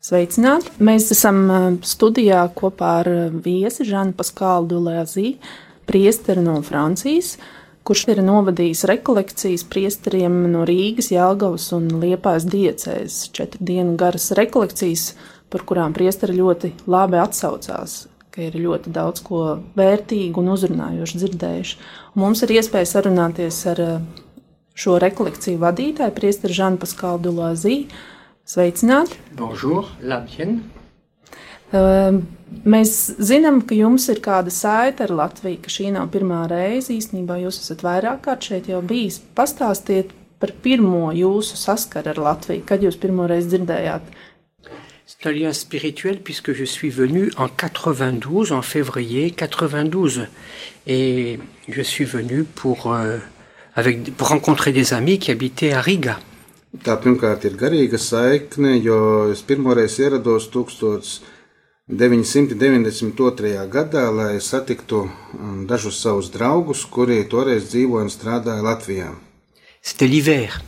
Sveicināti! Mēs esam uh, studijā kopā ar uh, viesi Žanu Paskālu Dulēzī, priesteri no Francijas, kurš ir novadījis rekolekcijas priesteriem no Rīgas, Jelgavas un Liepājas diecēs. Četru dienu garas rekolekcijas, par kurām priesteri ļoti labi atsaucās, ka ir ļoti daudz ko vērtīgu un uzrunājošu dzirdējuši. Un mums ir iespēja sarunāties ar uh, šo rekolekciju vadītāju, priesteri Žanu Paskālu Dulēzī. Sveicināti! Bonjour, la mienne. Uh, Mēs zinām, ka jums ir kāda saita ar Latviju, ka šī nav pirmā reize. Īsnībā jūs esat vairāk kārt šeit jau bijis. Pastāstiet par pirmo jūsu saskaru ar Latviju, kad jūs pirmo reizi dzirdējāt. C'est un lien spirituel puisque je suis venu en 92, en février 92. Et je suis venu pour, euh, avec, pour rencontrer des amis qui habitaient à Riga. Tā pirmkārt ir garīga saikne, jo es pirmoreiz ierados 1992. gadā, lai satiktu mm, dažus savus draugus, kuri toreiz dzīvoja un strādāja Latvijā. C'était l'hiver.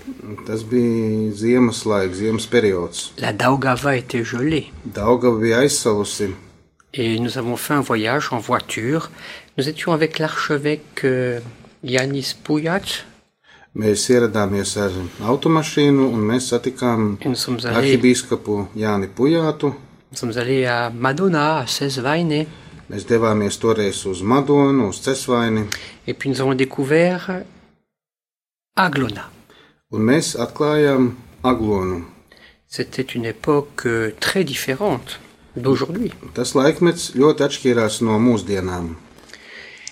Tas bija ziemas laiks, ziemas periods. La Daugava était gelée. Daugava bija aizsalusi. Et nous avons fait un voyage en voiture. Nous étions avec l'archevêque euh, Yanis Pouyac. Mēs ieradāmies ar automašīnu un mēs satikām Et nous sommes allés, arhibīskapu Jāni Pujātu. nous sommes allés à Madonna, à Sesvaine. Mēs devāmies toreiz uz Madonu, uz Cesvaini, Et puis nous avons découvert Aglona. un mēs atklājām Aglonu. C'était une époque euh, très différente d'aujourd'hui. Tas laikmets ļoti atšķirās no mūsdienām.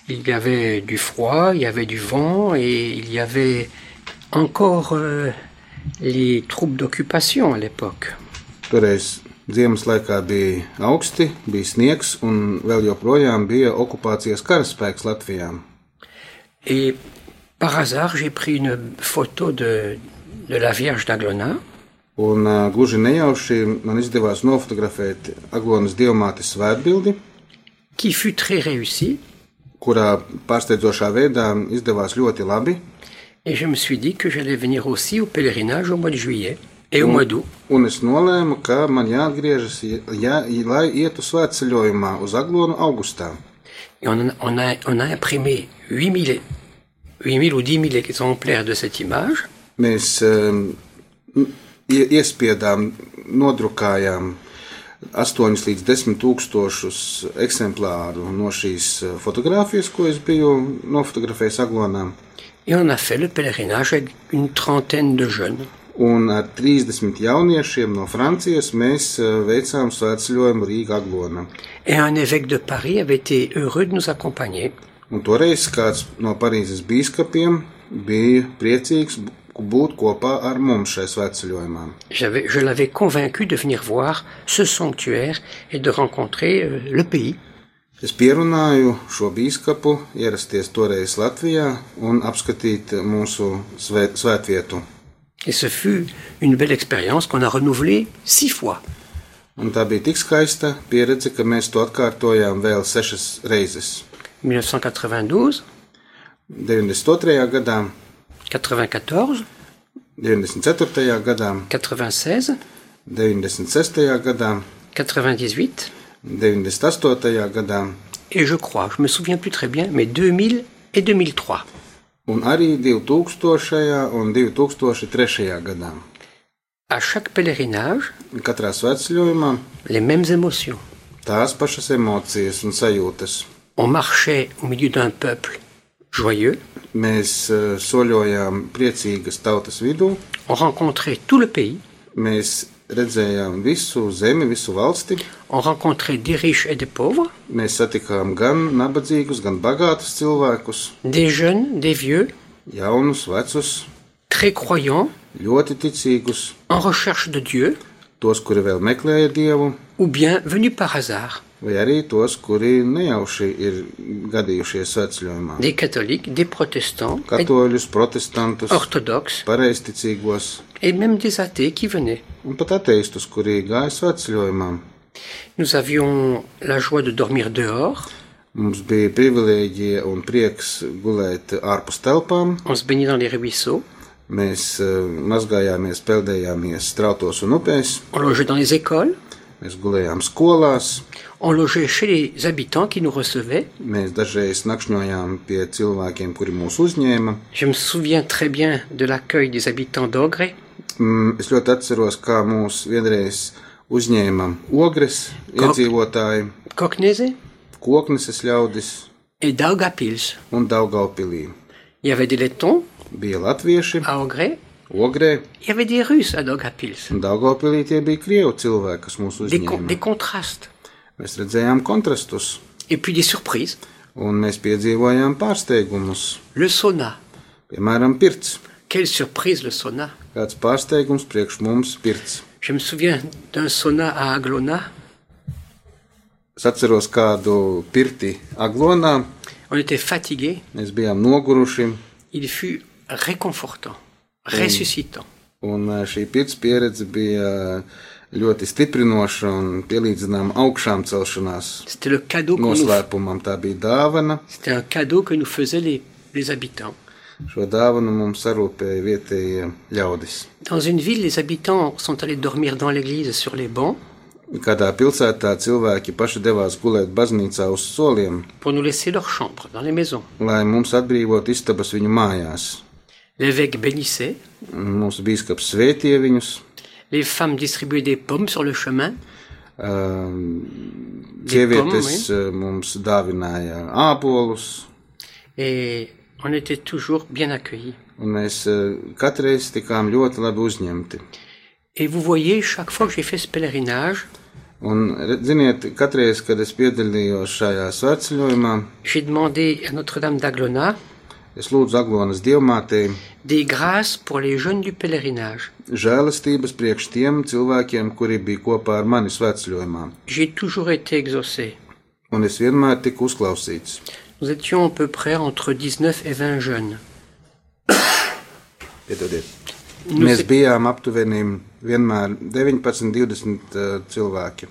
Il y avait du froid, il y avait du vent et il y avait encore euh, les troupes d'occupation à l'époque. Toreiz ziemas laikā bija augsti, bija sniegs un vēl joprojām bija okupācijas karaspēks Latvijā. Et par hasard, j'ai pris une photo de, de la Vierge d'Aglona Un, ā, gluži nejauši man izdevās nofotografēt Aglonas diamātes svētbildi, qui fut très réussie. kurā pārsteidzošā veidā izdevās ļoti labi. Et je me suis dit que j'allais venir aussi au pèlerinage au mois de juillet et au mois d'août. Un es nolēmu, ka man jāatgriežas, jā, lai ietu svētceļojumā uz Aglonu augustā. Et on a, on a, on a imprimé 8000, 8000 ou 10 000 exemplaires de cette image. Mēs um, ie- iespiedām, nodrukājām 8 līdz 10 tūkstošus eksemplāru no šīs eh, fotogrāfijas, ko es biju nofotografējis Aglonā. Et on a fait le pèlerinage avec une trentaine de jeunes. Un ar 30 jauniešiem no Francijas mēs eh, veicām svētceļojumu Rīgā Aglonā. Et un évêque de Paris avait été heureux de nous accompagner. Un toreiz kāds no Parīzes biskupiem bija priecīgs b- būt kopā ar mums šajā svētceļojumā. J'avais, je l'avais convaincu de venir voir ce sanctuaire et de rencontrer euh, le pays. Es pierunāju šo biskupu ierasties toreiz Latvijā un apskatīt mūsu svē- svētvietu. Et ce fut une belle expérience qu'on a renouvelée six fois. Un tā bija tik skaista pieredze, ka mēs to atkārtojām vēl sešas reizes. 1992, 92. gadā, 94, 94. gadā, 96, 96. gadā, 98 98. gadā et je crois, je me souviens plus très bien, mais 2000 et 2003. un arī 2000. un 2003. gadā. À chaque pèlerinage, Katrā svētceļojumā les mêmes émotions. tās pašas emocijas un sajūtas. On marchait au milieu d'un peuple joyeux, Mēs eh, soļojām priecīgas tautas vidū, on rencontrait tout le pays, mēs redzējām visu zemi, visu valsti. on rencontrait des riches et des pauvres, Mēs satikām gan nabadzīgus, gan bagātus cilvēkus, des jeunes, des vieux, jaunus, vecus, très croyants, ļoti ticīgus, en recherche de Dieu, tos, kuri vēl meklēja dievu, ou bien venus par hasard, vai arī tos, kuri nejauši ir gadījušies svētceļojumā. des catholiques, des protestants, et Katoļus, protestantus, orthodoxes, pareizticīgos et même des athées qui venaient. un pat ateistus, kuri gāja svētceļojumā. Nous avions la joie de dormir dehors, Mums bija privilēģija un prieks gulēt ārpus telpām. on se baignait dans les ruisseaux, Mēs eh, mazgājāmies, peldējāmies strautos un upēs, on logeait dans les écoles, Mēs gulējām skolās, On logeait chez les habitants qui nous recevaient. mēs dažreiz nakšņojām pie cilvēkiem, kuri mūs uzņēma. Je me souviens très bien de l'accueil des habitants d'Ogre. Mm, Es ļoti atceros, kā mūs vienreiz uzņēma ogres Kok- iedzīvotāji, Cocknese kokneses ļaudis et Daugapils. un Daugaupilī. Il y avait des Lettons Bija latvieši, à Ogré, ogrē, il y avait des Russes à Daugapils. un Daugaupilī tie bija krievu cilvēki, kas mūs Des, con- uzņēma. des contrastes. Mēs redzējām kontrastus, Et puis des surprises. un mēs piedzīvojām pārsteigumus. Le sauna. Piemēram, pirts. Quelle surprise le sauna. Kāds pārsteigums priekš mums pirts. Je me souviens d'un sauna à Aglona. Es atceros kādu pirti aglonā, On était fatigués. mēs bijām noguruši, Il fut réconfortant, ressuscitant. un eh, šī pirts pieredze bija ļoti stiprinoša un pielīdzināma augšām celšanās C'était le cadeau qu'on nous... noslēpumam. Tā bija dāvana. C'était un cadeau que nous faisaient les, les habitants. Šo dāvanu mums sarūpēja vietējie ļaudis. Dans une ville, les habitants sont allés dormir dans l'église sur les bancs Kādā pilsētā cilvēki paši devās gulēt baznīcā uz soliem, pour nous laisser leur chambre dans les maisons. lai mums atbrīvot istabas viņu mājās. L'évêque bénissait, Un Mūsu bīskaps svētīja viņus, les femmes distribuaient des pommes sur le chemin, Um, Sievietes uh, mums dāvināja ābolus, et on était toujours bien accueillis. un mēs uh, katreiz tikām ļoti labi uzņemti. Et vous voyez, chaque fois que j'ai fait ce pèlerinage, Un, re- ziniet, katreiz, kad es piedalījos šajā svētceļojumā, j'ai demandé à Notre-Dame d'Aglona es lūdzu Aglonas dievmātei des grâces pour les jeunes du pèlerinage. žēlastības priekš tiem cilvēkiem, kuri bija kopā ar mani svētceļojumā, J'ai toujours été exaucé. un es vienmēr tiku uzklausīts. Nous étions à peu près entre 19 et 20 jeunes. Piedodiet. Nous Mēs é- bijām aptuveni vienmēr 19, 20 uh, cilvēki.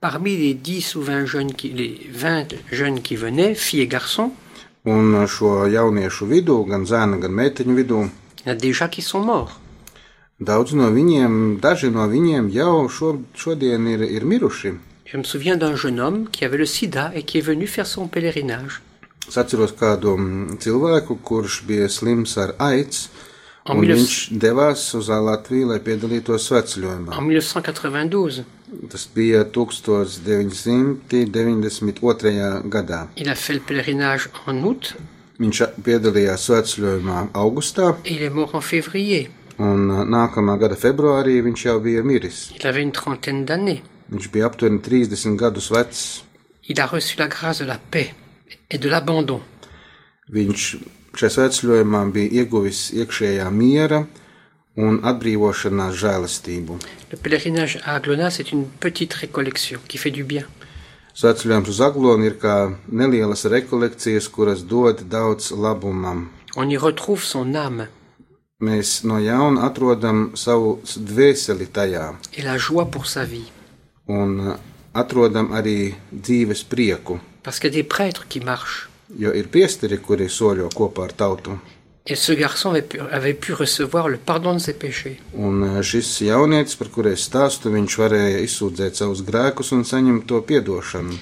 Parmi les 10 ou 20 jeunes qui, les 20 jeunes qui venaient, filles et garçons, Un šo jauniešu vidū, gan zēna, gan meiteņu vidū, il y en a déjà qui sont morts. daudz no viņiem, daži no viņiem jau šo, šodien ir, ir miruši. Je me souviens d'un jeune homme qui avait le sida et qui est venu faire son pèlerinage. Es atceros kādu mm, cilvēku, kurš bija slims ar aids, un Ambulis. viņš devās uz Latviju, lai En piedalītos sveceļojumā. 1992, Tas bija 1992. gadā. il a fait le pèlerinage en août Viņš a- piedalījās sveceļojumā augustā, et il est mort en février. un ā, nākamā gada februārī viņš jau bija miris. Il avait une trentaine d'années. Viņš bija aptuveni 30 gadus vecs. Il a reçu la grâce de la paix et de l'abandon. Viņš šajā svētceļojumā bija ieguvis iekšējā miera un atbrīvošanās žēlastību. Le pèlerinage à Aglona, c'est une petite récollection qui fait du bien. Svētceļojums uz Aglonu ir kā nelielas rekolekcijas, kuras dod daudz labumam. On y retrouve son âme Mēs no jauna atrodam savu s- dvēseli tajā et la joie pour sa vie. un uh, atrodam arī dzīves prieku, Parce qu'il y a des prêtres qui marchent. jo ir priesteri, kuri soļo kopā ar tautu. Et ce garçon avait pu, avait pu recevoir le pardon de ses péchés. Un uh, šis jaunietis, par kuriem stāstu, viņš varēja izsūdzēt savus grēkus un saņemt to piedošanu.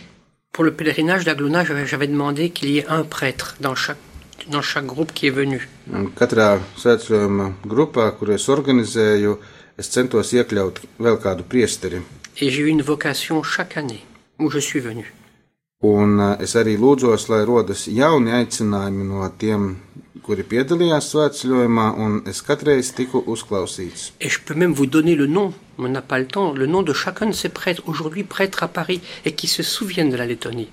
Pour le pèlerinage d'Aglona, j'avais j'avais demandé qu'il y ait un prêtre dans chaque, dans chaque groupe qui est venu. Un Katrā svētceļojuma grupā, kur es organizēju, es centos iekļaut vēl kādu priesteri. Et j'ai eu une vocation chaque année où je suis venu. Un eh, es arī lūdzos, lai rodas jauni aicinājumi no tiem, kuri piedalījās svētceļojumā, un es katreiz tiku uzklausīts. Et je peux même vous donner le nom, on n'a pas le temps, le nom de chacun de ces prêtres, aujourd'hui prêtres à Paris, et qui se souviennent de la Lettonie.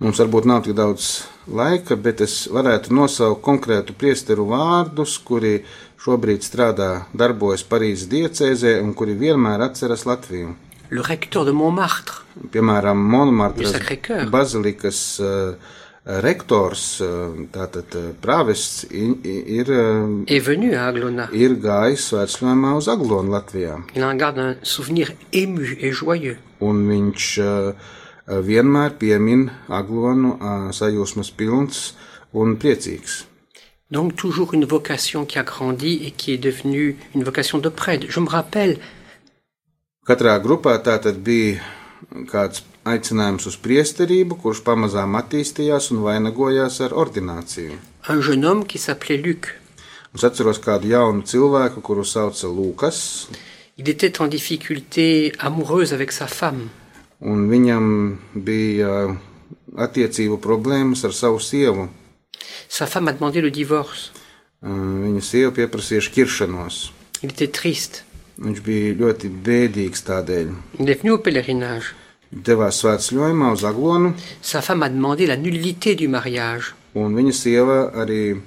Mums varbūt nav tik daudz laika, bet es varētu nosaukt konkrētu priesteru vārdus, kuri šobrīd strādā, darbojas Parīzes diecēzē un kuri vienmēr atceras Latviju. Le recteur de Montmartre, piemēram, Monmartras Ir Sacré-Cœur. bazilikas eh, rektors, eh, tātad eh, prāvests, i- i- ir, eh, est venu à Aglona. ir gājis svētceļojumā uz Aglonu Latvijā. Il en garde un souvenir ému et joyeux. Un viņš eh, vienmēr piemin Aglonu eh, sajūsmas pilns un priecīgs. Donc toujours une vocation qui a grandi et qui est devenue une vocation de prêtre. Je me rappelle Katrā grupā tātad bija kāds aicinājums uz priesterību, kurš pamazām attīstījās un vainagojās ar ordināciju. Un jeune homme qui s'appelait Luc. Un Es atceros kādu jaunu cilvēku, kuru sauca Lūkas, Il était en difficulté amoureuse avec sa femme. un viņam bija uh, attiecību problēmas ar savu sievu. Sa femme a demandé le divorce. Uh, Viņa sieva pieprasīja šķiršanos. Il était triste. Viņš bija ļoti bēdīgs tādēļ. Il est venu au pèlerinage. Devās svētceļojumā uz Aglonu, Sa femme a demandé la nullité du mariage. un viņa sieva arī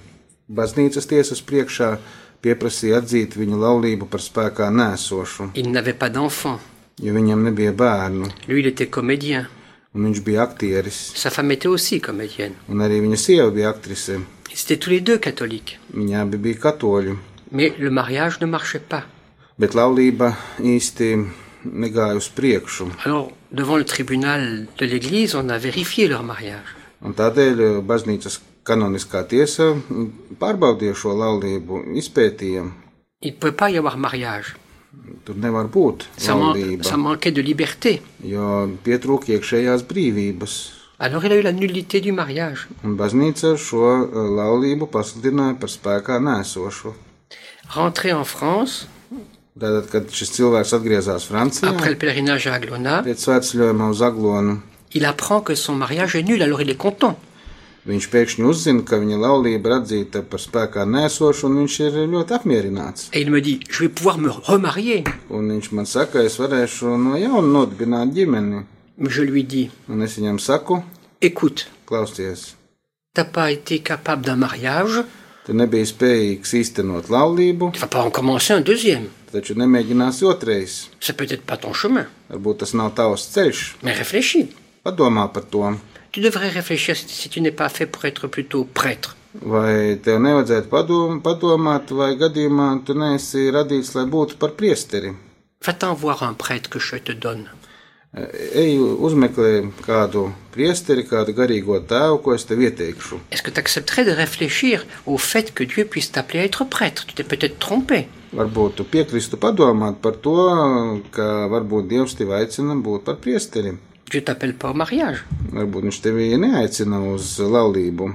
baznīcas tiesas priekšā pieprasīja atzīt viņa laulību par spēkā nēsošu, Il n'avait pas d'enfant. jo viņam nebija bērnu, Lui, il était comédien. un viņš bija aktieris, Sa femme était aussi comédienne. un arī viņa sieva bija aktrise. Ils étaient tous les deux catholiques. Viņa abi bija katoļi, Mais le mariage ne marchait pas. bet laulība īsti negāja uz priekšu. Alors, devant le tribunal de l'Église, on a vérifié leur mariage. Un tādēļ eh, baznīcas kanoniskā tiesa pārbaudīja šo laulību, izpētīja. Il ne pouvait pas y avoir mariage. Tur nevar būt Ça, man- ça laulība, manquait de liberté. jo pietrūk iekšējās brīvības. Alors il a eu la nullité du mariage. Un baznīca šo eh, laulību pasludināja par spēkā nēsošu. Rentré en France, Tātad, kad šis cilvēks atgriezās Francijā, après le pèlerinage à Aglona, pēc svētceļojuma uz Aglonu, il apprend que son mariage est nul, alors il est content. viņš pēkšņi uzzina, ka viņa laulība ir atzīta par spēkā nēsošu, un viņš ir ļoti apmierināts. Et il me dit, je vais pouvoir me remarier. Un viņš man saka, es varēšu no jauna nodibināt ģimeni. Mais Je lui dis, Un es viņam saku, écoute, klausies, t'as pas été capable d'un mariage, tu nebija spējīgs īstenot laulību, tu vas pas en commencer un deuxième. taču nemēģināsi otrais. C'est peut-être pas ton chemin, Varbūt tas nav tavs ceļš. mais réfléchis. Padomā par to, Tu devrais réfléchir si- si tu n'es pas fait pour être plutôt prêtre. vai tev nevajadzētu padom, padomāt, vai gadījumā tu neesi radīts, lai būtu par priesteri. Va-t'en voir un prêtre que je te donne. Ej, uzmeklē kādu priesteri, kādu garīgo tēvu, ko es tev ieteikšu. Est-ce que tu accepterais de réfléchir au fait que Dieu puisse t'appeler à être prêtre Tu t'es peut-être trompé. Varbūt tu piekristu padomāt par to, ka varbūt Dievs tevi aicina būt par priesteri. Dieu t'appelle pas au mariage. Varbūt viņš tevi neaicina uz laulību.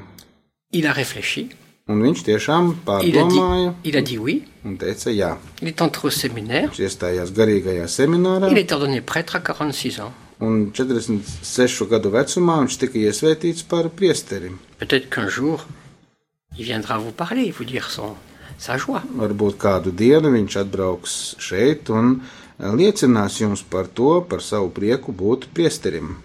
Il a réfléchi. Un viņš tiešām Il a, dit, pārdomāja il a dit oui. un teica jā. Il est entré au séminaire. Viņš iestājās garīgajā seminārā Il est ordonné prêtre à 46 ans. un 46 gadu vecumā viņš tika iesvētīts par priesteri. Peut-être qu'un jour, il viendra vous parler, vous dire son, sa joie. Varbūt kādu dienu viņš atbrauks šeit un e, liecinās jums par to, par savu prieku būt priesterim.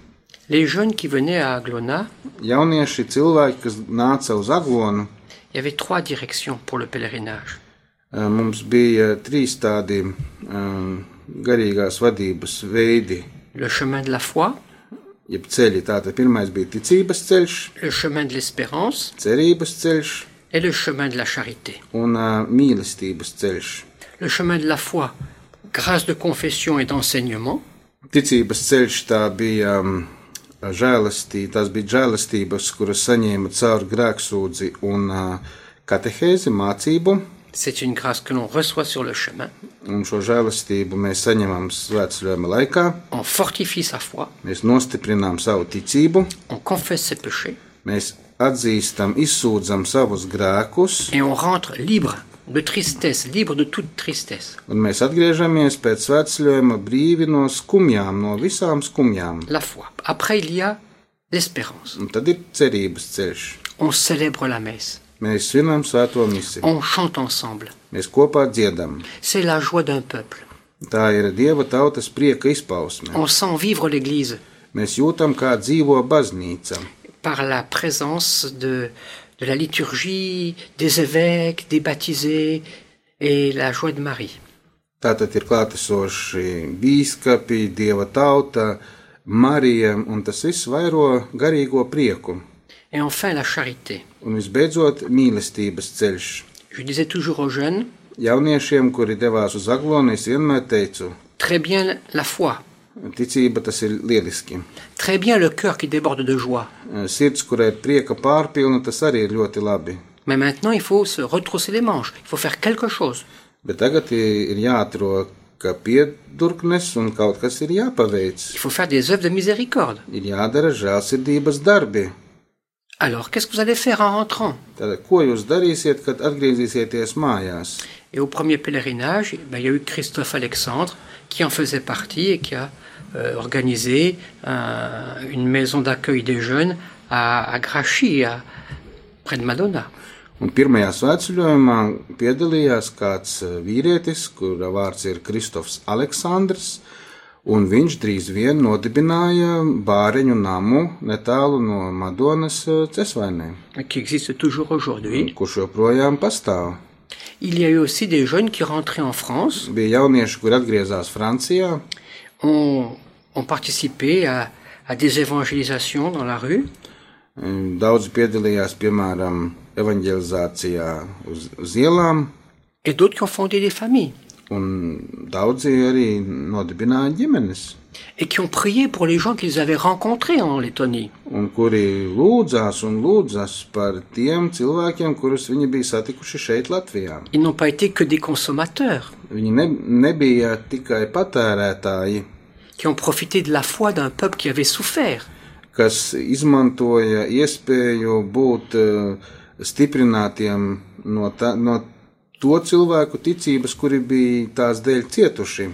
Les jeunes qui venaient à Aglona, Jaunieši cilvēki, kas nāca uz aglonu, il y avait trois directions pour le pèlerinage. eh, mums bija trīs tādi eh, garīgās vadības veidi, Le chemin de la foi, jeb ceļi. Tātad pirmais bija ticības ceļš, le chemin de l'espérance cerības ceļš et le chemin de la charité. un eh, mīlestības ceļš. Le chemin de la foi, grâce de confession et d'enseignement. Ticības ceļš tā bija um, žēlastība, tās bija žēlastības, kuras saņēma caur grēksūdzi un uh, katehēzi mācību, C'est une grâce que l'on reçoit sur le chemin. un šo žēlastību mēs saņemam svētceļojuma laikā, On fortifie sa foi, mēs nostiprinām savu ticību, on confesse ses péchés mēs atzīstam, izsūdzam savus grēkus, et on rentre libre de tristesse, libre de toute tristesse. un mēs atgriežamies pēc svētceļojuma brīvi no skumjām, no visām skumjām. La foi. Après, il y a l'espérance. Un tad ir cerības ceļš. On célèbre la messe. Mēs svinam svēto misiju, On chante ensemble. mēs kopā dziedam. C'est la joie d'un peuple. Tā ir dieva tautas prieka izpausme. On sent vivre l'Église Mēs jūtam, kā dzīvo baznīca. par la présence de, de la liturgie, des évêques, des baptisés et la joie de Marie. Tātad ir klātesoši bīskapi, dieva tauta, Marija, un tas viss vairo garīgo prieku. Et enfin, la charité. Un visbeidzot, mīlestības ceļš. Je disais toujours aux jeunes, Jauniešiem, kuri devās uz Aglonu, es vienmēr teicu, très bien la foi, ticība tas ir lieliski. très bien le cœur qui déborde de joie. Sirds, kurai ir prieka pārpilna, tas arī ir ļoti labi. Mais maintenant, il faut se retrousser les manches, il faut faire quelque chose. Bet tagad ir jāatrod ka piedurknes un kaut kas ir jāpaveic. Il faut faire des œuvres de miséricorde. Ir jādara žēlsirdības darbi. Alors, qu'est-ce que vous allez faire en rentrant Tad, ko jūs darīsiet, kad atgriezīsieties mājās? Et au premier pèlerinage, eh ben, il y a eu Christophe Alexandre qui en faisait partie et qui a euh, organisé un- une maison d'accueil des jeunes à, à Grachy, à- près de Madonna. Un pirmajā svētceļojumā piedalījās kāds eh, vīrietis, kura vārds ir Kristofs Aleksandrs, un viņš drīz vien nodibināja bāriņu namu netālu no Madonas eh, cesvainēm, qui existe toujours aujourd'hui. kurš joprojām pastāv. Il y a eu aussi des jeunes qui rentraient en France, Bija jaunieši, kur atgriezās Francijā, ont, ont participé à, à des évangélisations dans la rue, em, daudzi piedalījās, piemēram, evanģelizācijā uz, uz ielām, et d'autres qui ont fondé des familles, un daudzi arī nodibināja ģimenes, et qui ont prié pour les gens qu'ils avaient rencontrés en Lettonie. un kuri lūdzās un lūdzās par tiem cilvēkiem, kurus viņi bija satikuši šeit, Latvijā. Ils n'ont pas été que des consommateurs, Viņi ne, nebija tikai patērētāji, qui ont profité de la foi d'un peuple qui avait souffert. kas izmantoja iespēju būt eh, stiprinātiem no, tā, no to cilvēku ticības, kuri bija tās dēļ cietuši.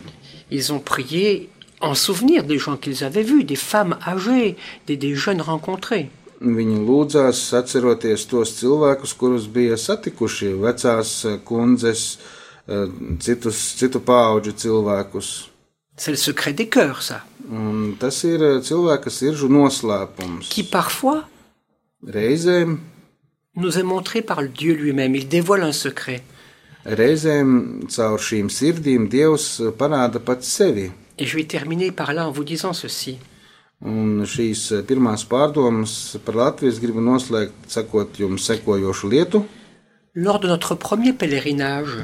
Ils ont prié en souvenir des gens qu'ils avaient vus, des femmes âgées, des, des jeunes rencontrés. Viņi lūdzās, atceroties tos cilvēkus, kurus bija satikuši, vecās eh, kundzes, eh, citus, citu paaudžu cilvēkus. C'est le secret des cœurs, ça, Un tas ir eh, cilvēka siržu noslēpums. qui parfois Reizēm, nous est montré par le Dieu lui-même. Il dévoile un secret. reizēm caur šīm sirdīm Dievs eh, parāda pats sevi. Et je vais terminer par là en vous disant ceci. Un šīs eh, pirmās pārdomas par Latviju es gribu noslēgt, sakot jums sekojošu lietu. Lors de notre premier pèlerinage,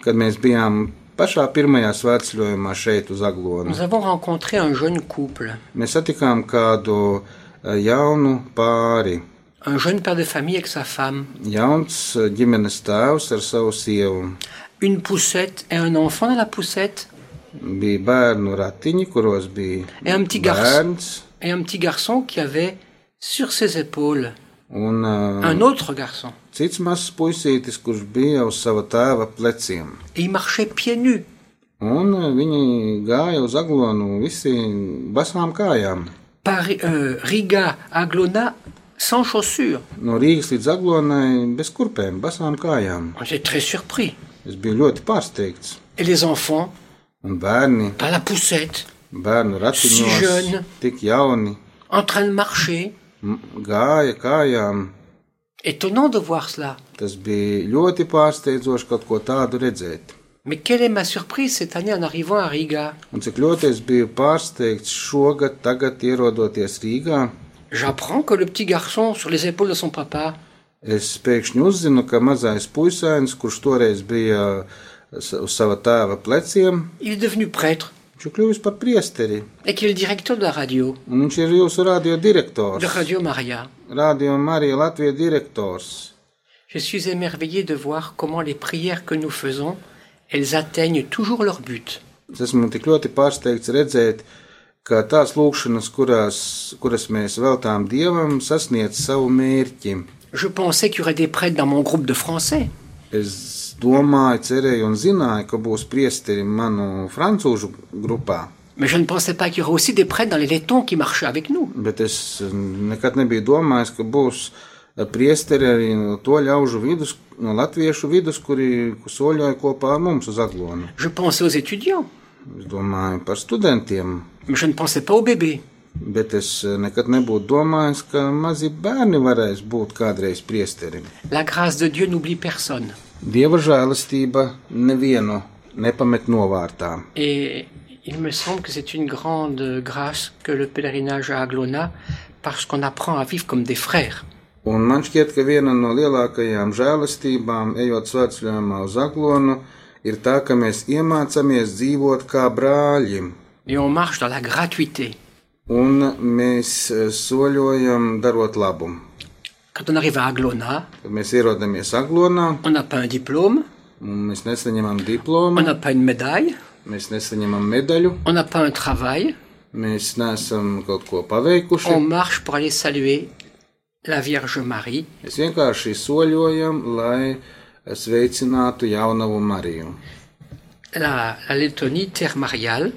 Kad mēs bijām pašā pirmajā svētceļojumā šeit uz Aglonu, nous avons rencontré un jeune couple, mēs satikām kādu eh, jaunu pāri. un jeune père de famille avec sa femme, Jauns eh, ģimenes tēvs ar savu sievu. une poussette et un enfant dans la poussette, Bija bērnu ratiņi, kuros bija Et un petit garçon. bērns et un petit garçon qui avait sur ses épaules un eh, un autre garçon. cits mazs puisītis, kurš bija uz sava tēva pleciem. Et ils marchaient pieds nus. Un eh, viņi gāja uz aglonu visi basām kājām. Paris, euh, Riga, Aglona, sans chaussures. No Rīgas līdz Aglonai bez kurpēm, basām kājām. On était très surpris. Es biju ļoti pārsteigts. Et les enfants, Un bērni, dans la poussette, bērnu ratiņos, Jeune. tik jauni, en train de marcher. m- gāja kājām. Étonnant de voir cela. Tas bija ļoti pārsteidzoši kaut ko tādu redzēt. Mais quelle est ma surprise cette année en arrivant à Riga Un cik ļoti es biju pārsteigts šogad, tagad ierodoties Rīgā, J'apprends que le petit garçon sur les épaules de son papa es pēkšņi uzzinu, ka mazais puisēns, kurš toreiz bija uh, sa- uz sava tēva pleciem, Il est devenu prêtre viņš ir kļuvis par priesteri, et qu'il est le directeur de la radio, un viņš ir jūsu radio de direktors. Radio Maria. Radio Marija Latvijas direktors. Je suis émerveillé de voir comment les prières que nous faisons, elles atteignent toujours leur but. Es esmu tik ļoti pārsteigts redzēt, ka tās lūkšanas, kurās, kuras mēs veltām dievam, sasniedz savu mērķi. Je pensais qu'il y aurait des prêtres dans mon groupe de français. Es domāju, cerēju un zināju, ka būs priesteri manu frančūžu grupā, Mais je ne pensais pas qu'il y aurait aussi des prêtres dans les laitons qui marchaient avec nous. bet es nekad nebiju domājis, ka būs priesteri arī no to ļaužu vidus, no latviešu vidus, kuri soļoja kopā ar mums uz aglonu. Je pensais aux étudiants, Es domāju par studentiem, mais je ne pensais pas aux bébés. bet es eh, nekad nebūtu domājis, ka mazi bērni varēs būt kādreiz priesterim. La grâce de Dieu n'oublie personne. Dieva žēlastība nevienu nepamet novārtā. Et il me semble que c'est une grande grâce que le pèlerinage à Aglona, parce qu'on apprend à vivre comme des frères. Un man šķiet, ka viena no lielākajām žēlastībām, ejot svētceļojumā uz aglonu, ir tā, ka mēs iemācāmies dzīvot kā brāļi. Et on marche dans la gratuité. Un mēs eh, soļojam, darot labu. Quand on arrive à Aglona, Kad mēs ierodamies aglonā, on n'a pas un diplôme, un mēs nesaņemam on diplomu, n'a pas une médaille, Mēs nesaņemam medaļu, on n'a pas un travail, mēs neesam kaut ko paveikuši. on marche pour aller saluer la Vierge Marie Mēs vienkārši soļojam, lai sveicinātu jaunavu Mariju. La, la Lettonie, terre mariale,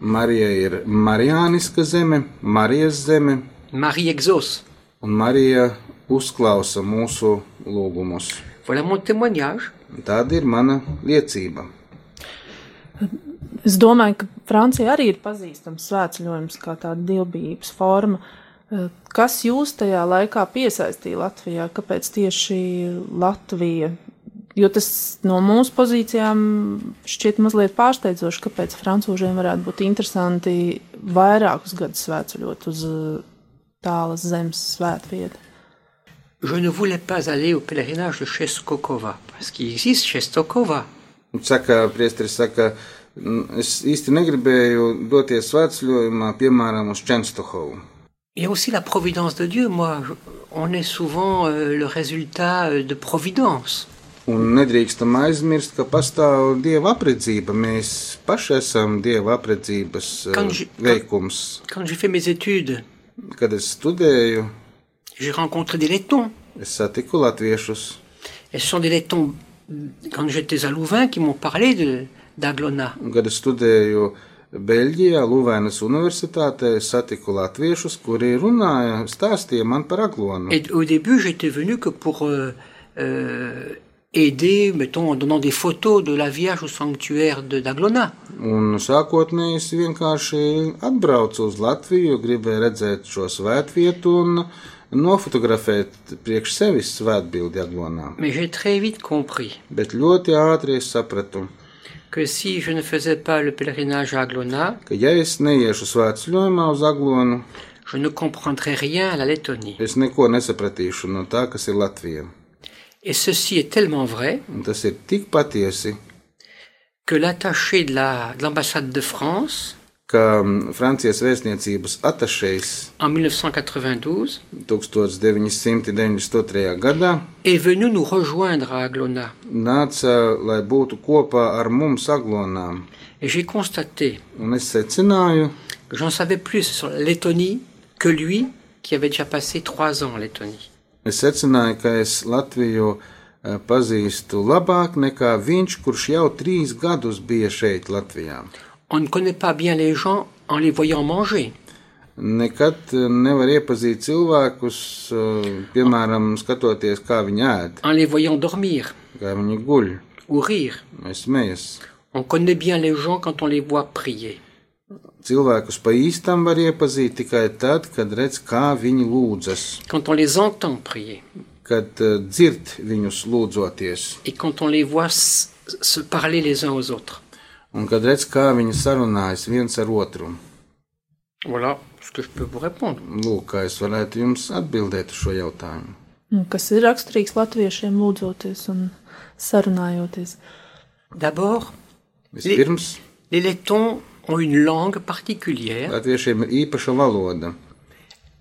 Marija ir Marijāniska zeme, Marijas zeme, Marie Exos. un Marija uzklausa mūsu lūgumus. Voilà mon témoignage. Tāda ir mana liecība. Es domāju, ka Francija arī ir pazīstams svētceļojums kā tāda dievbijības forma. Eh, Kas jūs tajā laikā piesaistīja Latvijā? Kāpēc tieši Latvija? Jo tas no mūsu pozīcijām šķiet mazliet pārsteidzoši, kāpēc frančūžiem varētu būt interesanti vairākus gadus svētceļot uz eh, tālas zemes svētvietu. Je ne voulais pas aller au pèlerinage de Cheskokova, parce qu'il existe Cheskokova. Un Saka, priesteris saka, "N- es īsti negribēju doties svētceļojumā, piemēram, uz Čenstohovu. Il y a aussi la providence de Dieu. Moi, je- on est souvent euh, le résultat euh, de providence. Un nedrīkstam aizmirst, ka pastāv dieva apredzība. Mēs paši esam dieva apredzības eh, Kanži- veikums. Quand j'ai fait mes études, Kad es studēju, j'ai rencontré des Lettons. es satiku latviešus. Et ce sont des Lettons, mm, quand j'étais à Louvain, qui m'ont parlé de- d'Aglona. Un, Kad es studēju Beļģijā, Luvānas universitātē, es satiku latviešus, kuri runāja, stāstīja man par aglonu. Et au début, j'étais venu que pour euh, euh, aider, mettons, en donnant des photos de la Vierge au sanctuaire de d'Aglona. Un sākotnēji es vienkārši atbraucu uz Latviju, gribēju redzēt šo svētvietu un nofotografēt priekš sevis svētbildi aglonā. Mais j'ai très vite compris Bet ļoti ātri es sapratu, que si je ne faisais pas le pèlerinage à Aglona, ka ja es neiešu svētceļojumā uz aglonu, je ne comprendrais rien à la Lettonie. es neko nesapratīšu no tā, kas ir Latvija. Et ceci est tellement vrai Un tas ir tik patiesi, que l'attaché de la- de l'ambassade de, France, ka mm, Francijas vēstniecības atašejs en 1992, 1992. gadā est venu nous rejoindre à Aglona. nāca, lai būtu kopā ar mums aglonā. Et j'ai constaté Un es secināju, que j'en savais plus sur la Lettonie que lui, qui avait déjà passé trois ans en Lettonie. es secināju, ka es Latviju eh, pazīstu labāk nekā viņš, kurš jau trīs gadus bija šeit, Latvijā. On ne connaît pas bien les gens en les voyant manger. Nekad eh, nevar iepazīt cilvēkus, eh, piemēram, skatoties, kā viņi ēd, en les voyant dormir kā viņi guļ, ou rire. vai smejas. On connaît bien les gens quand on les voit prier. Cilvēkus pa īstam var iepazīt tikai tad, kad redz, kā viņi lūdzas, Quand on les entend prier kad eh, dzird viņus lūdzoties, et quand on les voit s- se parler les uns aux autres. un kad redz, kā viņi sarunājas viens ar otru. Voilà ce que je peux vous répondre. Lūk, kā es varētu jums atbildēt uz šo jautājumu. Un Nu, Kas ir raksturīgs latviešiem lūdzoties un sarunājoties? D'abord, Vispirms, les Lettons ont une langue particulière. latviešiem ir īpaša valoda.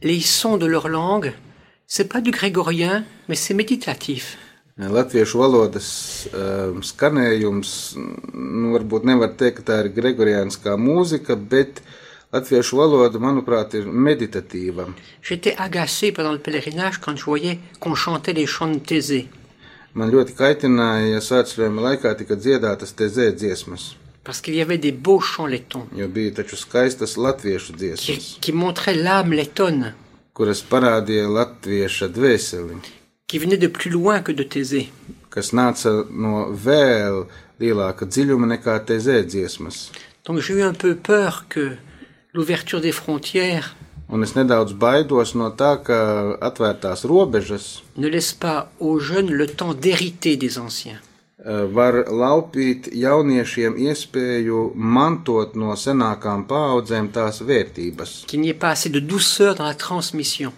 Les sons de leur langue, c'est pas du grégorien, mais c'est méditatif. Latviešu valodas um, skanējums, mm, nu, varbūt nevar teikt, ka tā ir gregoriānskā mūzika, bet latviešu valoda, manuprāt, ir meditatīva. J'étais agacé pendant le pèlerinage quand je voyais qu'on chantait les chants de Thésée, Man ļoti kaitināja, ja svētceļojuma laikā tika dziedātas tezē dziesmas, parce qu'il y avait des beaux chants lettons jo bija taču skaistas latviešu qui, dziesmas, qui montraient l'âme lettonne. kuras parādīja latvieša dvēseli, qui venait de plus loin que de Thésée. kas nāca no vēl lielāka dziļuma nekā tezē dziesmas. Donc j'ai eu un peu peur que l'ouverture des frontières Un es nedaudz baidos no tā, ka atvērtās robežas e, ne laisse pas aux jeunes le temps d'hériter des anciens. eh, var laupīt jauniešiem iespēju mantot no senākām paaudzēm tās vērtības. Qu'il n'y ait pas assez de douceur dans la transmission.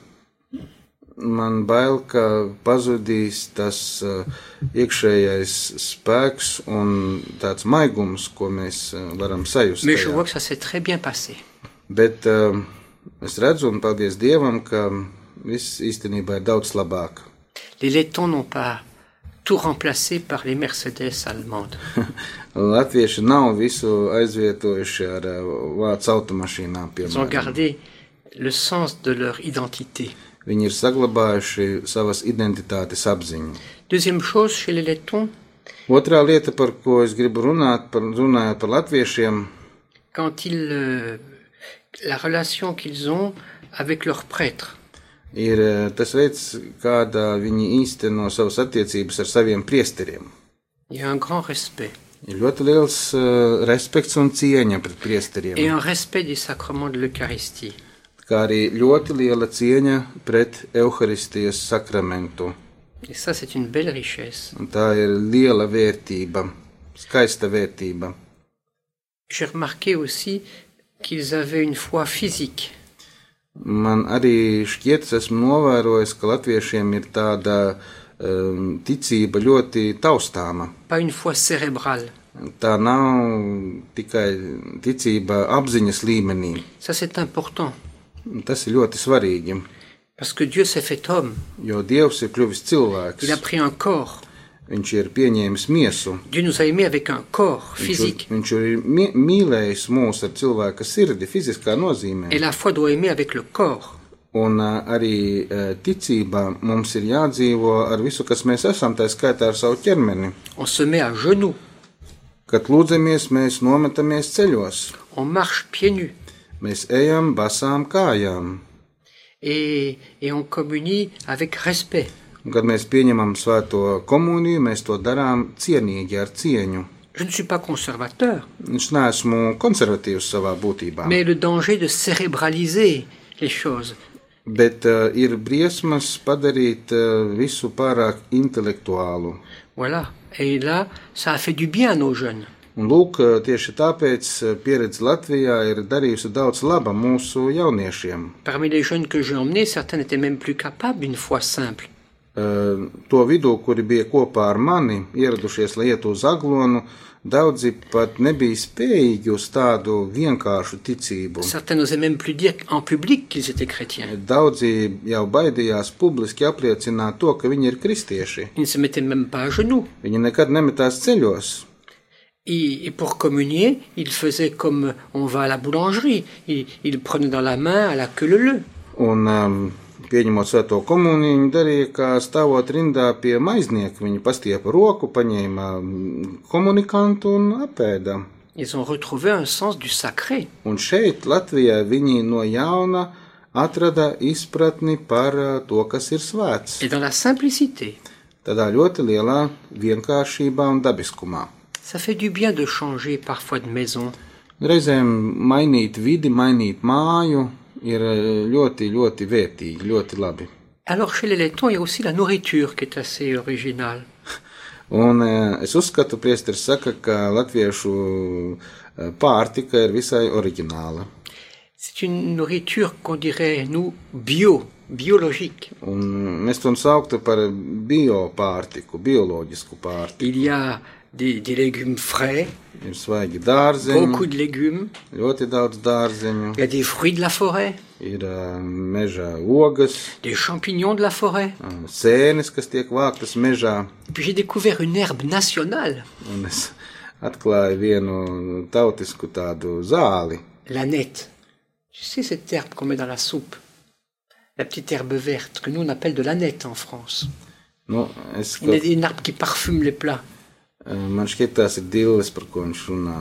Man bail, ka pazudīs tas eh, iekšējais spēks un tāds maigums, ko mēs eh, varam sajust. Mais je tajā. vois que ça s'est très bien passé. Bet eh, es redzu, un paldies Dievam, ka viss īstenībā ir daudz labāk. Les Lettons n'ont pas tout remplacé par les Mercedes allemandes. Latvieši nav visu aizvietojuši ar eh, vācu automašīnām, Ils ont piemēram. gardé le sens de leur identité. Viņi ir saglabājuši savas identitātes apziņu. Deuxième chose, chez les Lettons, Otrā lieta, par ko es gribu runāt, par, runājot par latviešiem, quand ils, euh, la relation qu'ils ont avec leurs prêtres. ir eh, tas veids, kādā viņi īsteno savas attiecības ar saviem priesteriem. Il y a un grand respect Ir ļoti liels eh, respekts un cieņa pret priesteriem, et un respect des sacrements de l'Eucharistie. kā arī ļoti liela cieņa pret evaharistijas sakramentu. Et ça, c'est une belle richesse. Un tā ir liela vērtība, skaista vērtība. J'ai remarqué aussi qu'ils avaient une foi physique. Man arī šķiet, es esmu novērojis, ka latviešiem ir tāda um, ticība ļoti taustāma. pas une foi cérébrale. Tā nav tikai ticība apziņas līmenī. Ça, c'est important, Tas ir ļoti svarīgi, parce que Dieu s'est fait homme, jo Dievs ir kļuvis il a cilvēks. pris un corps. Viņš ir pieņēmis miesu. Dieu nous a aimés avec un corps Viņš ir, physique, viņš ir mie- mīlējis mūs ar cilvēka sirdi, fiziskā nozīmē. et la foi doit aimer avec le corps. Un ā, arī ā, ticībā mums ir jādzīvo ar visu, kas mēs esam, tā skaitā ar savu ķermeni. On se met à genoux, Kad lūdzamies, mēs nometamies ceļos, on marche pieds nus, mēs ejam basām kājām. et, et on communie avec respect. Un, kad mēs pieņemam svēto komuniju, mēs to darām cienīgi ar cieņu. Je ne suis pas conservateur, Es neesmu konservatīvs savā būtībā, mais le danger de cérébraliser les choses, bet uh, ir briesmas padarīt uh, visu pārāk intelektuālu. voilà. Et là, ça a fait du bien à nos jeunes. Un lūk, ā, tieši tāpēc ā, pieredze Latvijā ir darījusi daudz laba mūsu jauniešiem. Parmi les jeunes que j'ai emmenés, certains n'étaient même plus capables d'une foi simple. Eh, to vidū, kuri bija kopā ar mani, ieradušies, lai iet uz aglonu, daudzi pat nebija spējīgi uz tādu vienkāršu ticību. Certains n'osaient même plus dire en public qu'ils étaient chrétiens. Daudzi jau baidījās publiski apliecināt to, ka viņi ir kristieši. Ils ne se mettaient même pas à genoux. Viņi nekad nemetās ceļos. Et, et pour communier, ils faisaient comme on va à la boulangerie. Ils, ils prenaient dans la main à la queue leu Un, um, pieņemot svēto komuniju, viņi darīja, kā stāvot rindā pie maiznieka. Viņi pastiepa roku, paņēma mm, komunikantu un apēda. Ils ont retrouvé un sens du sacré. Un šeit, Latvijā, viņi no jauna atrada izpratni par ā, to, kas ir svēts. Et dans la simplicité, Tādā ļoti lielā vienkāršībā un dabiskumā. ça fait du bien de changer parfois de maison. Reizēm mainīt vidi, mainīt māju ir ā, ļoti, ļoti vērtīgi, ļoti labi. Alors chez les Lettons, il y a aussi la nourriture qui est assez originale. Un ā, es uzskatu, priesteris saka, ka latviešu ā, pārtika ir visai oriģināla. C'est une nourriture qu'on dirait, nous, bio, biologique. Un mēs to sauktu par biopārtiku, bioloģisku pārtiku. Il y a des, des légumes frais, Ir svaigi dārzeņi. beaucoup de légumes, Ļoti daudz dārzeņu, il y a des fruits de la forêt, ir ā, meža ogas, des champignons de la forêt. ā, sēnes, kas tiek vāktas mežā. Puis j'ai découvert une herbe nationale, Un es atklāju vienu tautisku tādu zāli, la nette. Tu sais cette herbe qu'on met dans la soupe La petite herbe verte que nous on appelle de la nette en France. nu, es, Une, kaut, une herbe qui parfume les plats. man šķiet, tās ir divas, par ko viņš runā.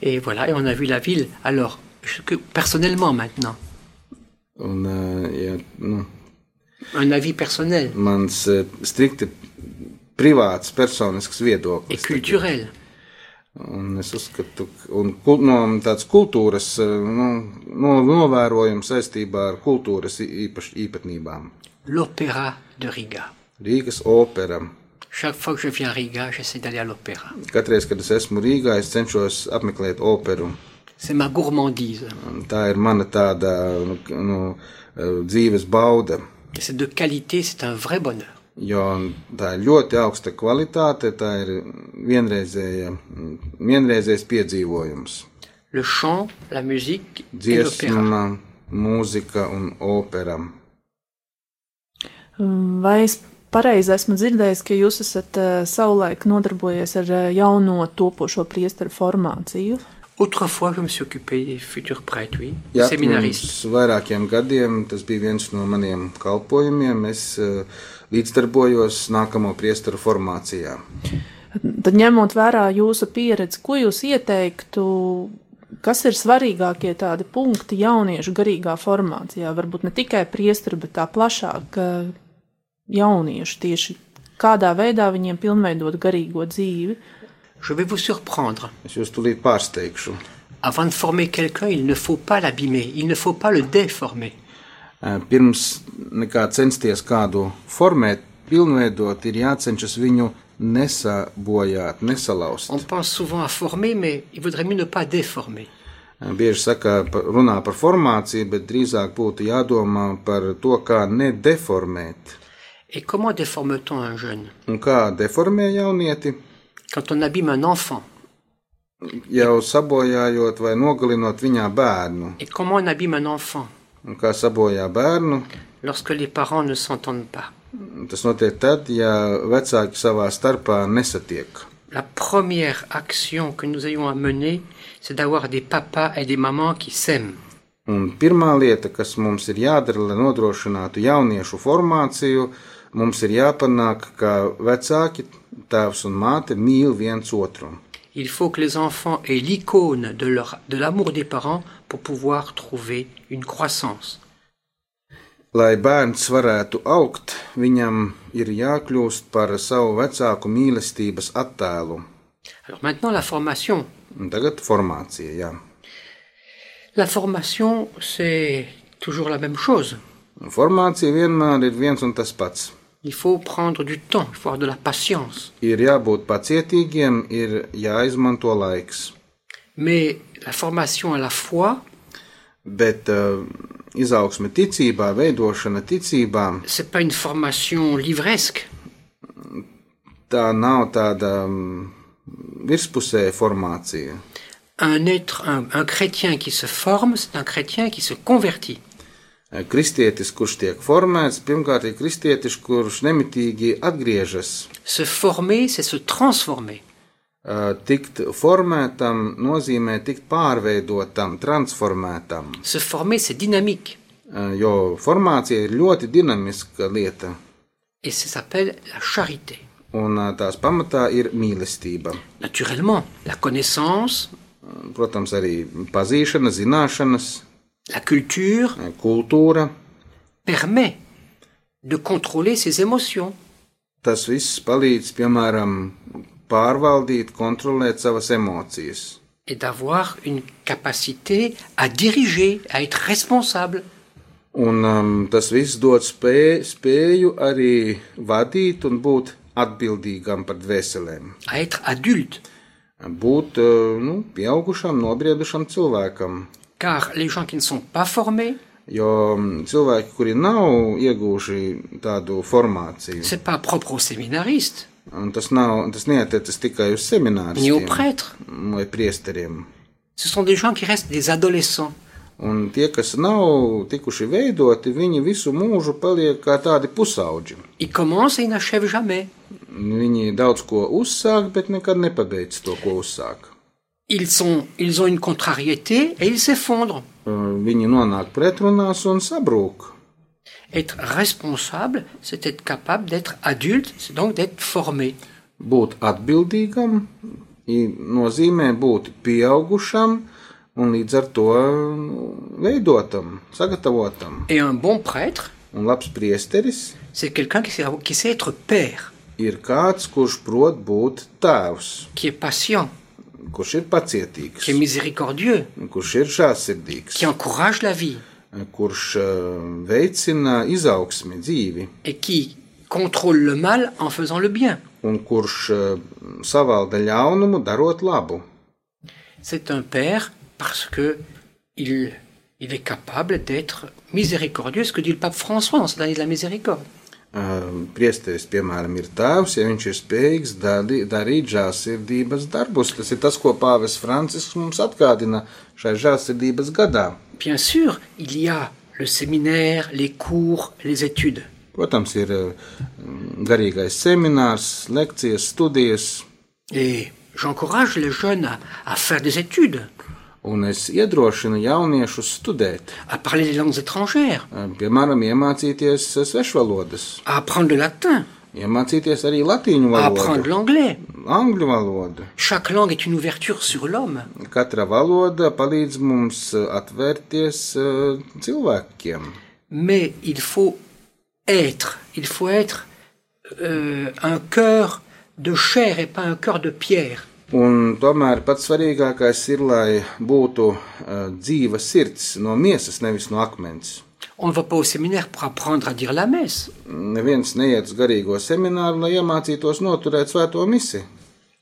Et voilà, et on a vu la ville. Alors, je- que- personnellement maintenant, Un, ā, ja, nu, un avis personnel mans ā, strikti privāts, personisks et viedoklis. culturel. Un es uzskatu, ka- un kul- no tāds kultūras ā, nu, no, novērojums saistībā ar kultūras i- īpaš, īpatnībām. L'opéra de Riga. Rīgas opera. Chaque fois que je viens à Riga, j'essaie d'aller à l'opéra. Katreiz, kad es esmu Rīgā, es cenšos apmeklēt operu. C'est ma gourmandise. Tā ir mana tāda nu, k- nu, dzīves bauda, Et C'est de qualité, c'est un vrai bonheur. jo tā ir ļoti augsta kvalitāte, tā ir vienreizēja, vienreizējs piedzīvojums. Le chant, la musique et l'opéra. Dziesma, mūzika un opera. Vai es pareizi esmu dzirdējis, ka jūs esat uh, savulaik nodarbojies ar uh, jauno topošo priesteru formāciju. Autrefois, je me suis occupé des futurs prêtres, oui, Jā, séminaristes. pirms vairākiem gadiem tas bija viens no maniem kalpojumiem. Es eh, līdzdarbojos nākamo priesteru formācijā. Tad ņemot vērā jūsu pieredzi, ko jūs ieteiktu, kas ir svarīgākie tādi punkti jauniešu garīgā formācijā, varbūt ne tikai priestru, bet tā plašāk eh, jauniešu tieši kādā veidā viņiem pilnveidot garīgo dzīvi. Je vais vous surprendre. Es jūs tulīt pārsteigšu. Avant de former quelqu'un, il ne faut pas l'abîmer, il ne faut pas le déformer. Eh, Pirms nekā censties kādu formēt, pilnveidot, ir jācenšas viņu nesabojāt, On nesalaust. pense souvent à former, mais il vaudrait mieux ne pas déformer. Eh, Bieži saka, pa- runā par formāciju, bet drīzāk būtu jādomā par to, kā nedeformēt. Et comment déforme-t-on un jeune Un kā deformē jaunieti, Quand on abîme un enfant, jau sabojājot vai nogalinot viņā bērnu. et comment on abîme un enfant Un kā sabojā bērnu, lorsque les parents ne s'entendent pas tas notiek tad, ja vecāki savā starpā nesatiek. La première action que nous ayons à mener, c'est d'avoir des papas et des mamans qui s'aiment. Un pirmā lieta, kas mums ir jādara, lai nodrošinātu jauniešu formāciju, mums ir jāpanāk, ka vecāki, tēvs un māte mīl viens otru. Il faut que les enfants aient l'icône de leur- de l'amour des parents pour pouvoir trouver une croissance. Lai bērns varētu augt, viņam ir jākļūst par savu vecāku mīlestības attēlu. Alors maintenant, la formation. Un tagad formācija, jā. La formation, c'est toujours la même chose. Formācija vienmēr ir viens un tas pats. Il faut prendre du temps, il faut avoir de la patience. Ir jābūt pacietīgiem, ir jāizmanto laiks. Mais la formation à la foi, Bet uh, izaugsme ticībā, veidošana ticībā, c'est pas une formation livresque. tā nav tāda mm, virspusēja formācija. Un être, un, un chrétien qui se forme, c'est un chrétien qui se convertit. Eh, Kristietis, kurš tiek formēts, pirmkārt ir kristietis, kurš nemitīgi atgriežas. Se former, c'est se transformer. Uh, Tikt formētam nozīmē tikt pārveidotam, transformētam, Se former, c'est dynamique. Uh, jo formācija ir ļoti dinamiska lieta, Et ça s'appelle la charité. un uh, tās pamatā ir mīlestība. Naturellement, la connaissance, protams, arī pazīšana, zināšanas, la culture kultūra. permet de contrôler ses émotions. Tas viss palīdz, piemēram, pārvaldīt, kontrolēt savas emocijas et d'avoir une capacité à diriger, à être responsable. Un um, tas viss dod spē, spēju arī vadīt un būt atbildīgam par dvēselēm. à être adulte, Būt uh, nu, pieaugušam, nobriedušam cilvēkam. car les gens qui ne sont pas formés, Jo mm, cilvēki, kuri nav iegūši tādu formāciju, c'est pas propre aux séminaristes un tas, nav, tas neatiecas tikai uz ni aux semināriem prêtres. vai priesteriem. Ce sont des gens qui restent des adolescents. Un tie, kas nav tikuši veidoti, viņi visu mūžu paliek kā tādi pusauģi. Ils commencent et ils n'achèvent jamais. Viņi daudz ko uzsāk, bet nekad nepabeidz to, ko uzsāk. Ils sont, ils ont une contrariété et ils s'effondrent. Uh, Viņi nonāk pretrunās un sabrūk. Être responsable, c'est être capable d'être adulte, c'est donc d'être formé. Būt atbildīgam i- nozīmē būt pieaugušam un līdz ar to nu, veidotam, sagatavotam. Et un bon prêtre, Un labs priesteris c'est quelqu'un qui sait, qui sait être père, ir kāds, kurš prot būt tēvs, qui est patient, kurš qui ir est pacietīgs, miséricordieux, kurš ir šāsirdīgs. qui encourage la vie. kurš eh, veicina izaugsmi dzīvi et qui contrôle le mal en faisant le bien. un kurš eh, savalda ļaunumu, darot labu. C'est un père parce que il, il est capable d'être miséricordieux, ce que dit le pape François dans cette année de la miséricorde. Eh, Priesteris, piemēram, ir tēvs, ja viņš ir spējīgs dadi, darīt žēlsirdības darbus. Tas ir tas, ko Pāvis Francisks mums atgādina šai žēlsirdības gadā. Bien sûr, il y a le séminaire, les cours, les études. Protams, ir mm, garīgais seminārs, lekcijas, studijas, Et j'encourage les jeunes à, à faire des études, un es iedrošinu jauniešus studēt, à parler des langues étrangères, eh, piemēram, iemācīties eh, svešvalodas, à apprendre le latin, iemācīties arī latīņu à apprendre valodu, l'anglais. angļu valodu. Chaque langue est une ouverture sur l'homme. Katra valoda palīdz mums eh, atvērties eh, cilvēkiem, Mais il faut être, il faut être euh, un cœur de chair et pas un cœur de pierre. un tomēr pats svarīgākais ir, lai būtu eh, dzīva sirds no miesas, nevis no akmens. On ne va pas au séminaire pour apprendre à dire la messe. Neviens neiet uz garīgo semināru, lai iemācītos noturēt svēto misiju.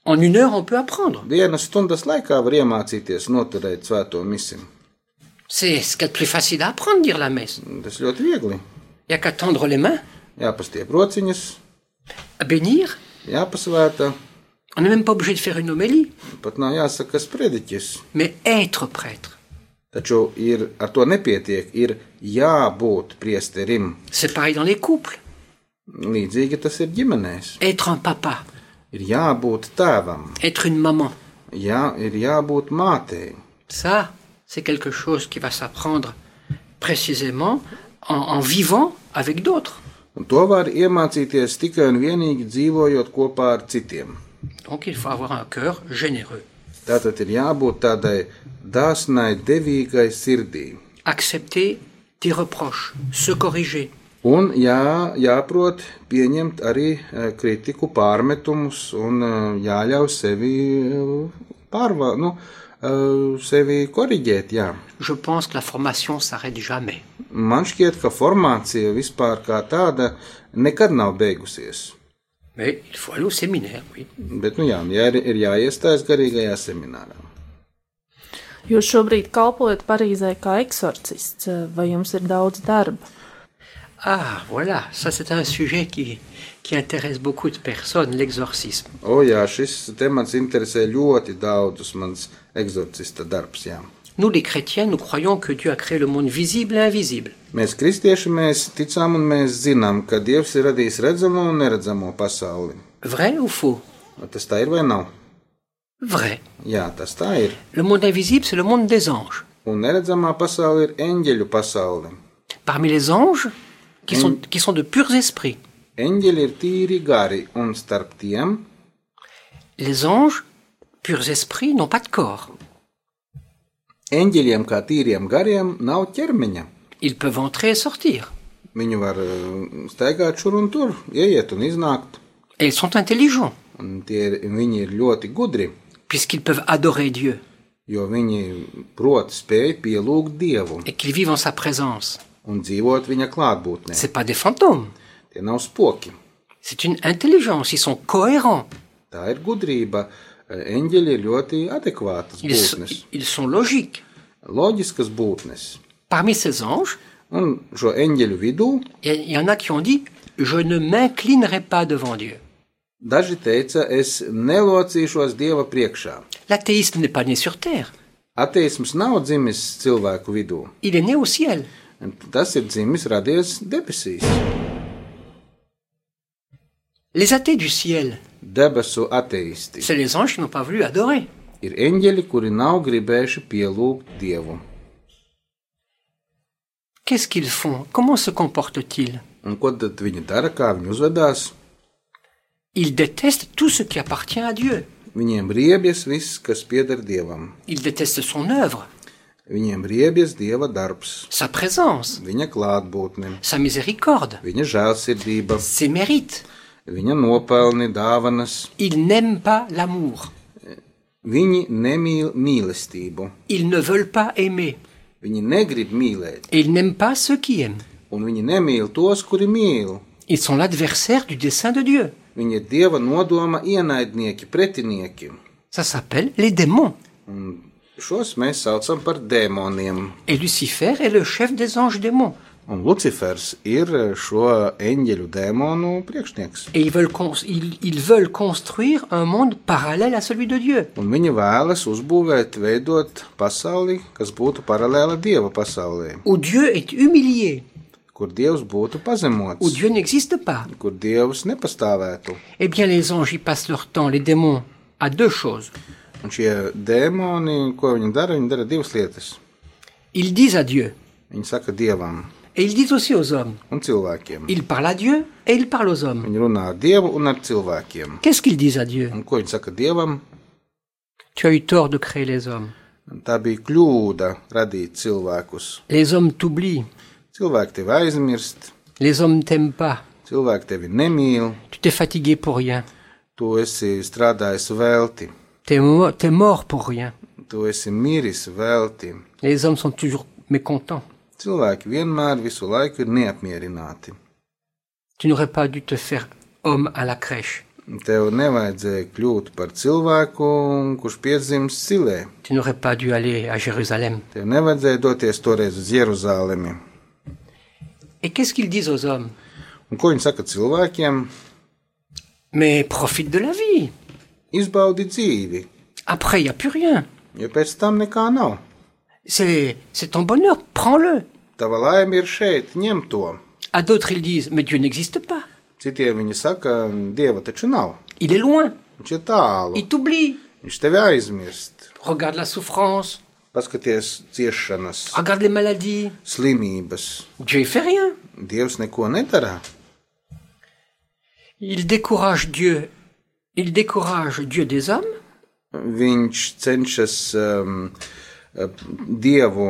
En une heure, on peut apprendre. Dienas stundas laikā var iemācīties noturēt svēto misiju. C'est ce qu'il y a de plus facile à apprendre, dire la messe. Tas ļoti viegli. Il n'y a qu'à tendre les mains, Jāpastiep rociņas, à bénir. jāpasvēta, On n'est même pas obligé de faire une homélie, pat nav jāsaka sprediķis. mais être prêtre. Taču ir, ar to nepietiek, ir jābūt priesterim. C'est pareil dans les couples. Līdzīgi tas ir ģimenēs. Être un papa, Ir jābūt tēvam, être une maman. jā, ir jābūt mātei. Ça, c'est quelque chose qui va s'apprendre précisément en, en vivant avec d'autres. Un to var iemācīties tikai un vienīgi dzīvojot kopā ar citiem. Donc il faut avoir un cœur généreux, Tātad ir jābūt tādai dāsnai, devīgai sirdī. accepter des reproches, se corriger, Un jā, jāprot pieņemt arī eh, kritiku, pārmetumus un eh, jāļauj sevi pārvaldīt, nu, eh, sevi korrigēt. Jā. Je pense que la formation s'arrête jamais. Man šķiet, ka formācija vispār kā tāda nekad nav beigusies. Mais il faut aller au séminaire, oui. Bet, nu jā, jā ir, ir jāiestājas garīgajā seminārā. Jūs šobrīd kalpojat Parīzē kā eksorcists, vai jums ir daudz darba? Ah, voilà, ça c'est un sujet qui, qui intéresse beaucoup de personnes, l'exorcisme. O jā, šis temats interesē ļoti daudzus mans eksorcista darbs. Jā. Nous, les chrétiens, nous croyons que Dieu a créé le monde visible et invisible. Mēs, kristieši, mēs ticām un mēs zinām, ka Dievs ir radījis redzamo un neredzamo pasauli. Vrai ou faux Tas tā ir vai nav? Vrai. Jā, tas tā ir. Le monde invisible, c'est le monde des anges. Un neredzamā pasaule ir eņģeļu pasaule. Parmi les anges, qui sont, qui sont de purs esprits, Eņģeļi ir tīri gari, un starp tiem les anges, purs esprits, n'ont pas de corps. eņģeļiem, kā tīriem gariem, nav ķermeņa. Ils peuvent entrer et sortir. Viņu var eh, staigāt šur un tur, ieiet un iznākt. Et ils sont intelligents, Un tie ir, viņi ir ļoti gudri, puisqu'ils peuvent adorer Dieu jo viņi prot spēj pielūgt Dievu et qu'ils vivent en sa présence. un dzīvot viņa klātbūtnē. C'est pas des fantômes. Tie nav spoki. C'est une intelligence. Ils sont cohérents. Tā ir gudrība. Eh, Eņģeļi ir ļoti adekvātas Ils, sont- būtnes, ils sont logiques. loģiskas būtnes. Parmi ces anges, Un šo eņģeļu vidū il y, il y en a qui ont dit Je ne m'inclinerai pas devant Dieu. daži teica, es nelocīšos Dieva priekšā. L'athéisme n'est pas né sur terre. Ateisms nav dzimis cilvēku vidū. Il est né au ciel. Tas ir dzimis radies debesīs. Les athées du ciel, Debesu ateisti c'est les anges qui n'ont pas voulu adorer. ir eņģeļi, kuri nav gribējuši pielūgt Dievu. Qu'est-ce qu'ils font Comment se comportent-ils Un ko tad viņi dara, kā viņi uzvedās? Ils détestent tout ce qui appartient à Dieu. Viņiem riebjas viss, kas pieder Dievam. Ils détestent son œuvre, Viņiem riebjas Dieva darbs, sa présence, viņa klātbūtne, sa miséricorde, viņa žēlsirdība, ses mérites. viņa nopelni, dāvanas. Ils n'aiment pas l'amour. Viņi nemīl mīlestību. Ils ne veulent pas aimer. Viņi negrib mīlēt, Et ils n'aiment pas ceux qui aiment. un viņi nemīl tos, kuri mīl. Ils sont l'adversaire du dessein de Dieu. Viņi ir Dieva nodoma ienaidnieki, pretinieki. Ça s'appelle les démons. Šos mēs saucam par dēmoniem. Et Lucifer est le chef des anges démons. Un Lucifers ir šo eņģeļu dēmonu priekšnieks. Et ils veulent, cons- ils- ils veulent construire un monde parallèle à celui de Dieu. Un viņi vēlas uzbūvēt, veidot pasauli, kas būtu paralēla dieva pasaulē, Où Dieu est humilié, kur Dievs būtu pazemots, où Dieu n'existe pas. kur Dievs nepastāvētu. Eh bien, les anges y passent leur temps, les démons, à deux choses. Un šie dēmoni, ko viņi dara, viņi dara divas lietas. Ils disent à Dieu, Viņi saka dievam et ils disent aussi aux hommes. un cilvēkiem. Ils parlent à Dieu et ils parlent aux hommes. Viņi runā ar dievu un ar cilvēkiem. Qu'est-ce qu'ils disent à Dieu Un ko viņi saka dievam? Tu as eu tort de créer les hommes. Tā bija kļūda radīt cilvēkus. Les hommes t'oublient. Cilvēki tevi aizmirst, Les hommes t'aiment pas. cilvēki tevi nemīl, Tu t'es fatigué pour rien. tu esi strādājis velti, T'es mo- t'es mort pour rien. tu esi miris velti. Les hommes sont toujours mécontents. Cilvēki vienmēr visu laiku ir neapmierināti. Tu n'aurais pas dû te faire homme à la crèche. Tev nevajadzēja kļūt par cilvēku, kurš piedzimis silē. Tu n'aurais pas dû aller à Jérusalem. Tev nevajadzēja doties toreiz uz Jeruzalemi. Et qu'est-ce qu'ils disent aux hommes Un ko viņi saka cilvēkiem? Mais profite de la vie. Izbaudi dzīvi, Après, il n'y a plus rien. jo pēc tam nekā nav. C'est c'est ton bonheur, prends-le. Tava laime ir šeit, ņem to. À d'autres, ils disent, mais Dieu n'existe pas. Citiem viņi saka, dieva taču nav. Il est loin. Viņš ir tālu. Il t'oublie. Viņš tevi aizmirst. Regarde la souffrance. Paskaties, ciešanas, Regarde les maladies. slimības. Dieu ne fait rien. Dievs neko nedara. Il décourage Dieu. Il décourage Dieu des hommes. Viņš cenšas um, dievu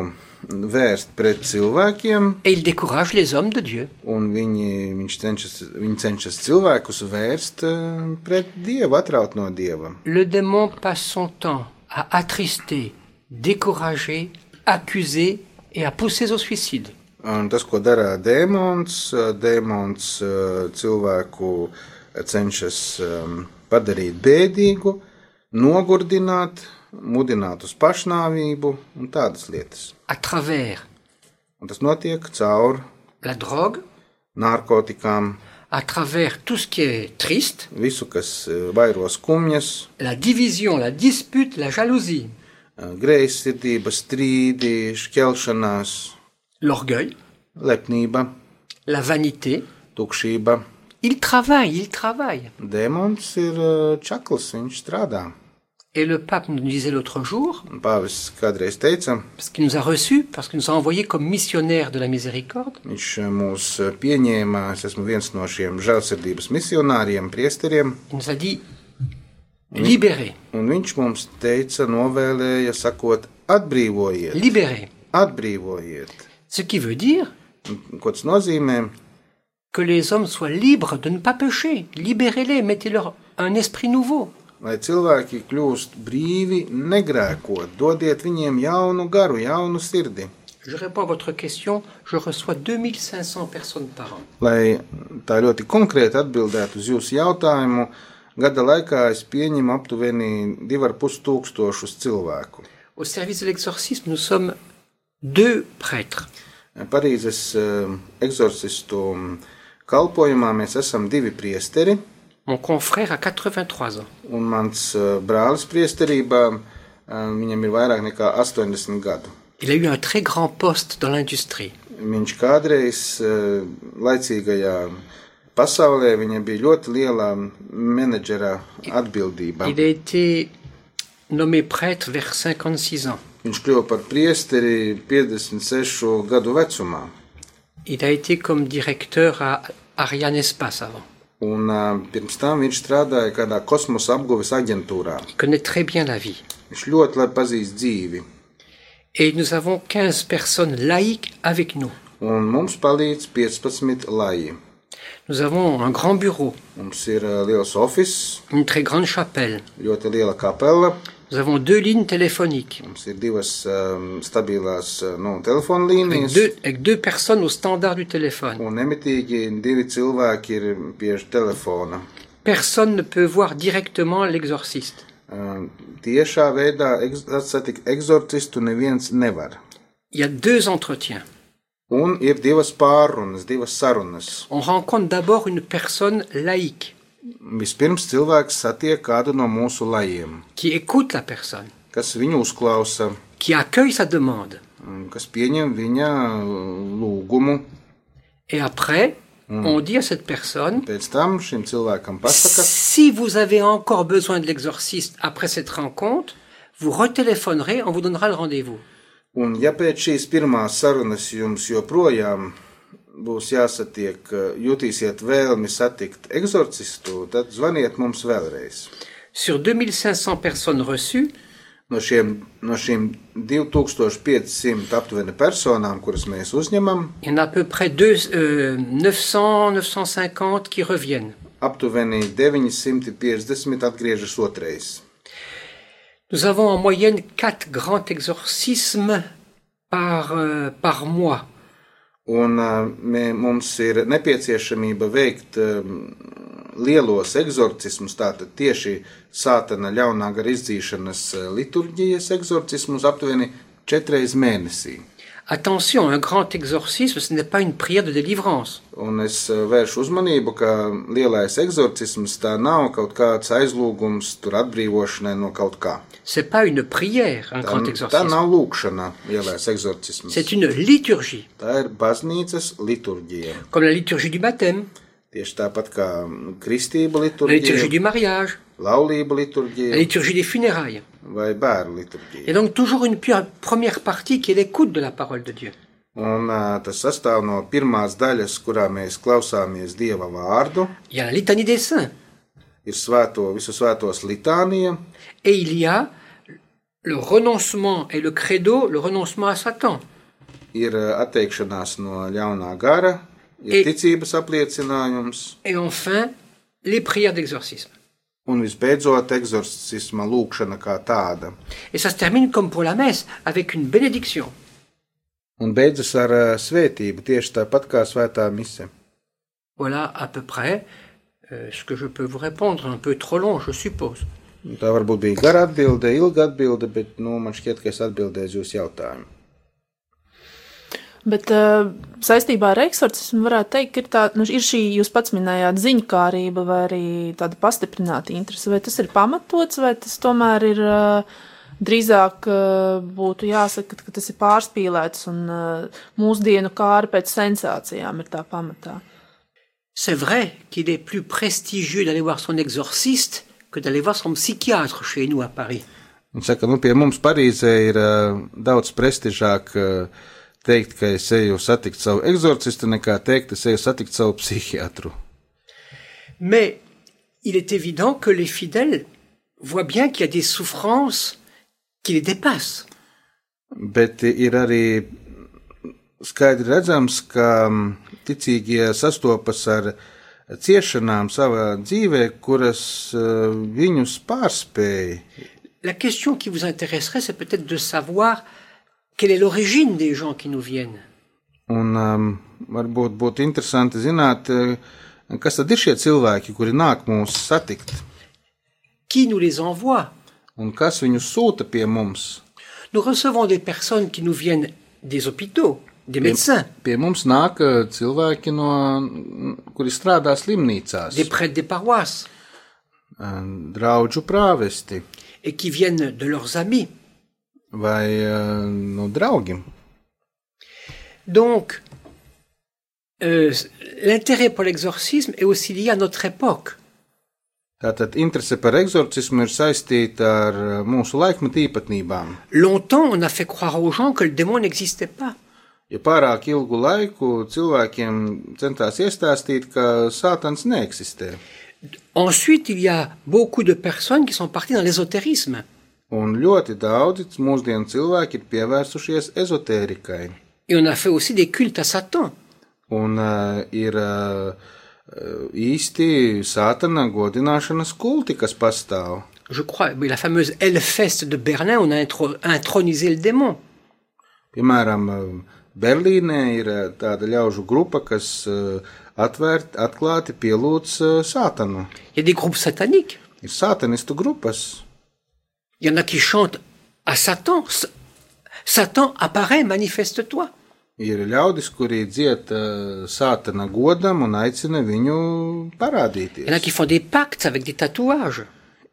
vērst pret cilvēkiem, Et il décourage les hommes de Dieu. un viņi, viņš cenšas, viņi cenšas cilvēkus vērst um, pret dievu, atraut no dieva. Le démon passe son temps à attrister, décourager, accuser et à pousser au suicide. Un tas, ko dara dēmons, uh, dēmons uh, cilvēku cenšas um, padarīt bēdīgu, nogurdināt, mudināt uz pašnāvību un tādas lietas. À travers Un tas notiek caur la drogue, narkotikām, à travers tout ce qui est triste, visu, kas eh, vairo skumjas, la division, la dispute, la jalousie, eh, greizsirdība, strīdi, šķelšanās, l'orgueil, lepnība, la vanité. tukšība. Il travaille, il travaille. Dēmons ir eh, čakls, viņš strādā. Et le pape nous disait l'autre jour, Un Pāvests kādreiz teica, parce qu'il nous a reçus, parce qu'il nous a envoyés comme missionnaires de la miséricorde, viņš eh, mūs eh, pieņēma, es esmu viens no šiem žēlsirdības misionāriem, priesteriem, il nous a dit libérez, un viņš mums teica, novēlēja, sakot, atbrīvojiet, libérez. atbrīvojiet. Ce qui veut dire Un Ko tas nozīmē? que les hommes soient libres de ne pas pécher. Libérez-les, mettez-leur un esprit nouveau. Lai cilvēki kļūst brīvi, negrēkot, dodiet viņiem jaunu garu, jaunu sirdi. Je réponds à votre question, je reçois 2500 personnes par an. Lai tā ļoti konkrēti atbildētu uz jūsu jautājumu, gada laikā es pieņemu aptuveni 2,5 tūkstošus cilvēku. Au service de l'exorcisme, nous sommes deux prêtres. Parīzes eh, eksorcistu kalpošanā mēs esam divi priesteri, Mon confrère a 83 ans. un mans eh, brālis priesterībā eh, viņam ir vairāk nekā 80 gadu. Il a eu un très grand poste dans l'industrie. Viņš kādreiz eh, laicīgajā pasaulē viņam bija ļoti liela menedžera atbildība. Il a été nommé prêtre vers 56 ans. Viņš kļuva par priesteri 56 gadu vecumā. Il a été comme directeur à Ariane Espace avant. Un eh, pirms tam viņš strādāja kādā kosmosa apguves aģentūrā. Il connaît très bien la vie. Viņš ļoti labi pazīst dzīvi, Et nous avons 15 personnes laïques avec nous. un mums palīdz 15 laji. Nous avons un grand bureau, Mums ir eh, liels ofis, une très grande chapelle. ļoti liela kapela, Nous avons deux lignes téléphoniques, mums ir divas um, stabilās eh, nu, telefonlīnijas. deux, avec deux personnes au standard du téléphone. Un nemitīgi divi cilvēki ir pie telefona. Personne ne peut voir directement l'exorciste. Um, Tiešā veidā eks- satikt eksorcistu neviens nevar. Il y a deux entretiens. Un ir divas pārunas, divas sarunas. On rencontre d'abord une personne laïque Vispirms cilvēks satiek kādu no mūsu lajiem, qui écoute la personne, kas viņu uzklausa, qui accueille sa demande um, kas pieņem viņa uh, eh, lūgumu. Et après, on dit à cette personne, Pēc tam šim cilvēkam pasaka, si vous avez encore besoin de l'exorciste après cette rencontre, vous retéléphonerez, on vous donnera le rendez-vous. un ja pēc šīs pirmās sarunas jums joprojām būs jāsatiek, eh, jutīsiet vēlmi satikt eksorcistu, tad zvaniet mums vēlreiz. Sur 2500 personnes reçues, No šiem, no šiem 2500 aptuveni personām, kuras mēs uzņemam, il y en a à peu près deux, euh, 900, 950 qui reviennent. aptuveni 950 atgriežas otrais. Nous avons en moyenne quatre grands exorcismes par, euh, par mois. Un eh, mē, mums ir nepieciešamība veikt em, lielos eksorcismus, tātad tieši sātana ļaunā gara izdzīšanas eh, liturģijas eksorcismus aptuveni četreiz mēnesī. Attention, un grand exorcisme, ce n'est pas une prière de délivrance. Un es eh, vēršu uzmanību, ka lielais eksorcisms tā nav kaut kāds aizlūgums tur atbrīvošanai no kaut kā. C'est pas une prière, un Tā, grand tā exorcisme. nav lūkšana, lielais eksorcisms. C'est une liturgie, Tā ir baznīcas liturģija. comme la liturgie du baptême, Tieši tāpat kā kristība la liturgie liturģija, du mariage, laulība la liturģija. liturgie des funérailles. vai bērnu Et liturģija. donc toujours une pu- première partie qui est l'écoute de la parole de Dieu. Un, ā, tas sastāv no pirmās daļas, kurā mēs klausāmies Dieva vārdu, Il y a la litanie des saints ir svēto, visu svētos litānija, et il y a le renoncement et le credo, le renoncement à Satan. ir ā, atteikšanās no ļaunā gara, ir I- ticības apliecinājums Et enfin, les prières d'exorcisme. un visbeidzot eksorcisma lūkšana kā tāda. Et ça se termine comme pour la messe, avec une bénédiction. Un beidzas ar ā, svētību tieši tāpat kā svētā mise. Voilà à peu près euh, ce que je peux vous répondre, un peu trop long, je suppose. Un Tā varbūt bija gara atbilde, ilga atbilde, bet nu, man šķiet, ka es atbildēju uz jūsu jautājumu. Bet uh, saistībā ar eksorcismu varētu teikt, ka ir, tā, nu, ir šī jūs pats minējāt ziņkārība vai arī tāda pastiprināta interese. Vai tas ir pamatots, vai tas tomēr ir uh, drīzāk uh, būtu jāsaka, ka tas ir pārspīlēts un uh, mūsdienu kāri pēc sensācijām ir tā pamatā. C'est vrai qu'il est plus prestigieux d'aller voir son exorciste que d'aller voir son psychiatre chez nous à Paris. Viņš saka, nu, pie mums Parīzē ir ā, daudz prestižāk ā, teikt, ka es eju satikt savu eksorcistu, nekā teikt, es eju satikt savu psihiatru. Mais il est évident que les fidèles voient bien qu'il y a des souffrances qui les dépassent. Bet ir arī skaidri redzams, ka ticīgie sastopas ar ciešanām savā dzīvē, kuras ā, viņus pārspēja. La question qui vous intéresserait, c'est peut-être de savoir quelle est l'origine des gens qui nous viennent. Un um, varbūt būtu interesanti zināt, ā, kas tad ir šie cilvēki, kuri nāk mūs satikt, Qui nous les envoie un kas viņus sūta pie mums. Nous recevons des personnes qui nous viennent des hôpitaux, des médecins, Pie mums nāk ā, cilvēki, no, mm, kuri strādā slimnīcās, des prêtres des paroisses, Ā, draugu prāvesti et qui viennent de leurs amis. vai eh, nu, ā, no draugiem. Donc, euh, l'intérêt pour l'exorcisme est aussi lié à notre époque. Tātad interese par eksorcismu ir saistīta ar ā, mūsu laikmetu īpatnībām. Longtemps, on a fait croire aux gens que le démon n'existait pas. Ja pārāk ilgu laiku cilvēkiem centās iestāstīt, ka sātans neeksistē, Ensuite, il y a beaucoup de personnes qui sont parties dans l'ésotérisme. un ļoti daudzi mūsdienu cilvēki ir pievērsušies ezotērikai. Et on a fait aussi des cultes à Satan. Un uh, ir uh, īsti sātana godināšanas kulti, kas pastāv. Je crois, oui, la fameuse Hellfest de Berlin, on a intro- intronisé le démon. Piemēram, uh, Berlīnē ir uh, tāda ļaužu grupa, kas uh, atvērt, atklāti pielūdz uh, sātanu. Il y a des groupes sataniques. Ir sātanistu grupas. Il y en a qui chantent à Satan. S- Satan apparaît, manifeste-toi. Ir ļaudis, kuri dzied uh, sātana godam un aicina viņu Il y en a parādīties. qui font des pactes avec des tatouages.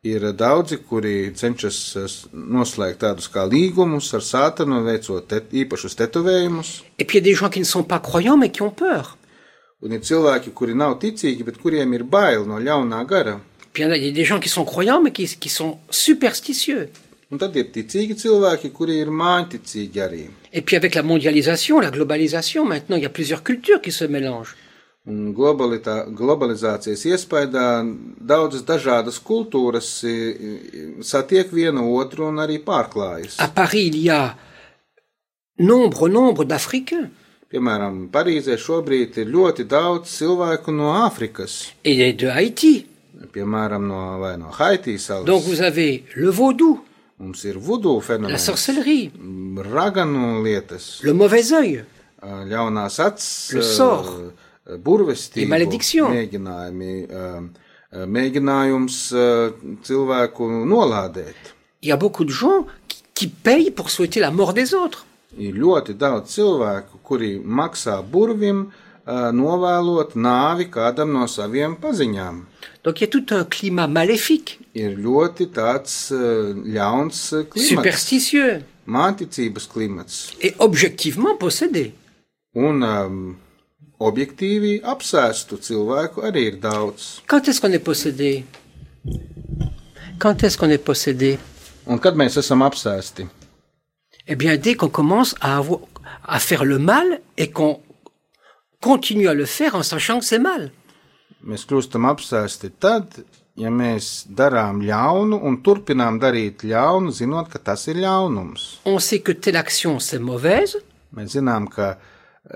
Ir daudzi, kuri cenšas uh, s- noslēgt tādus kā līgumus ar sātanu, veicot te, īpašus tetovējumus. Et puis il y a des gens qui ne sont pas croyants mais qui ont peur. Un ir cilvēki, kuri nav ticīgi, bet kuriem ir bail no ļaunā gara. Puis il y en a- il y a des gens qui sont croyants, mais qui, qui sont superstitieux. Un tad ir ticīgi cilvēki, kuri ir mānticīgi arī. Et puis avec la mondialisation, la globalisation, maintenant, il y a plusieurs cultures qui se mélangent. Un globalitā- globalizācijas iespējā daudzas dažādas kultūras i- i- satiek viena otru un arī pārklājas. À Paris, il y a nombre, nombre d'Africains. Piemēram, Parīzē šobrīd ir ļoti daudz cilvēku no Āfrikas, et de Haïti. piemēram, no, vai no Haitijas Donc salas. vous avez le vaudou, Mums ir vudu la fenomens, sorcellerie, raganu lietas, le mauvais œil, Э, ļaunās acis, Le sort. burvestība, Et malédiction. mēģinājumi, ā, mēģinājums ā, cilvēku nolādēt. il y a beaucoup de gens qui, qui payent pour souhaiter la mort des autres. Ir ļoti daudz cilvēku, kuri maksā burvim, ā, novēlot nāvi kādam no saviem paziņām. Donc il y a tout un climat maléfique, Ir ļoti tāds ā, ļauns ā, klimats, superstitieux mānticības klimats et objectivement possédé. un um, objektīvi apsēstu cilvēku arī ir daudz. Quand est-ce qu'on est possédé Quand est-ce qu'on est possédé Un kad mēs esam apsēsti? Eh bien, dès qu'on commence à, avoir- à faire le mal et qu'on continue à le faire en sachant que c'est mal. Mēs kļūstam apsēsti tad, ja mēs darām ļaunu un turpinām darīt ļaunu, zinot, ka tas ir ļaunums. On sait que telle action, c'est mauvaise. Mēs zinām, ka